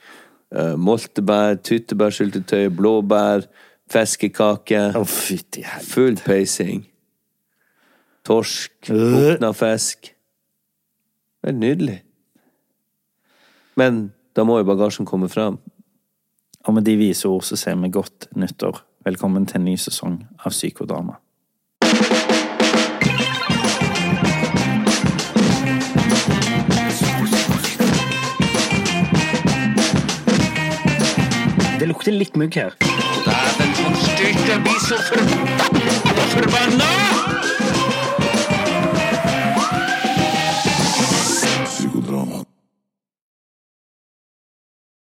Speaker 2: eh, moltebær, tyttebærsyltetøy, blåbær, fiskekake.
Speaker 1: Å, fytti helvete.
Speaker 2: Full peising. Torsk,
Speaker 1: Øh.
Speaker 2: våkna fisk. Det er nydelig. Men da må jo bagasjen komme fram.
Speaker 1: Og med de vise ord så sier vi godt nyttår. Velkommen til en ny sesong av Psykodrama. Det lukter litt mygg her.
Speaker 4: Dæven, som styrte blir så forbanna! Forbanna!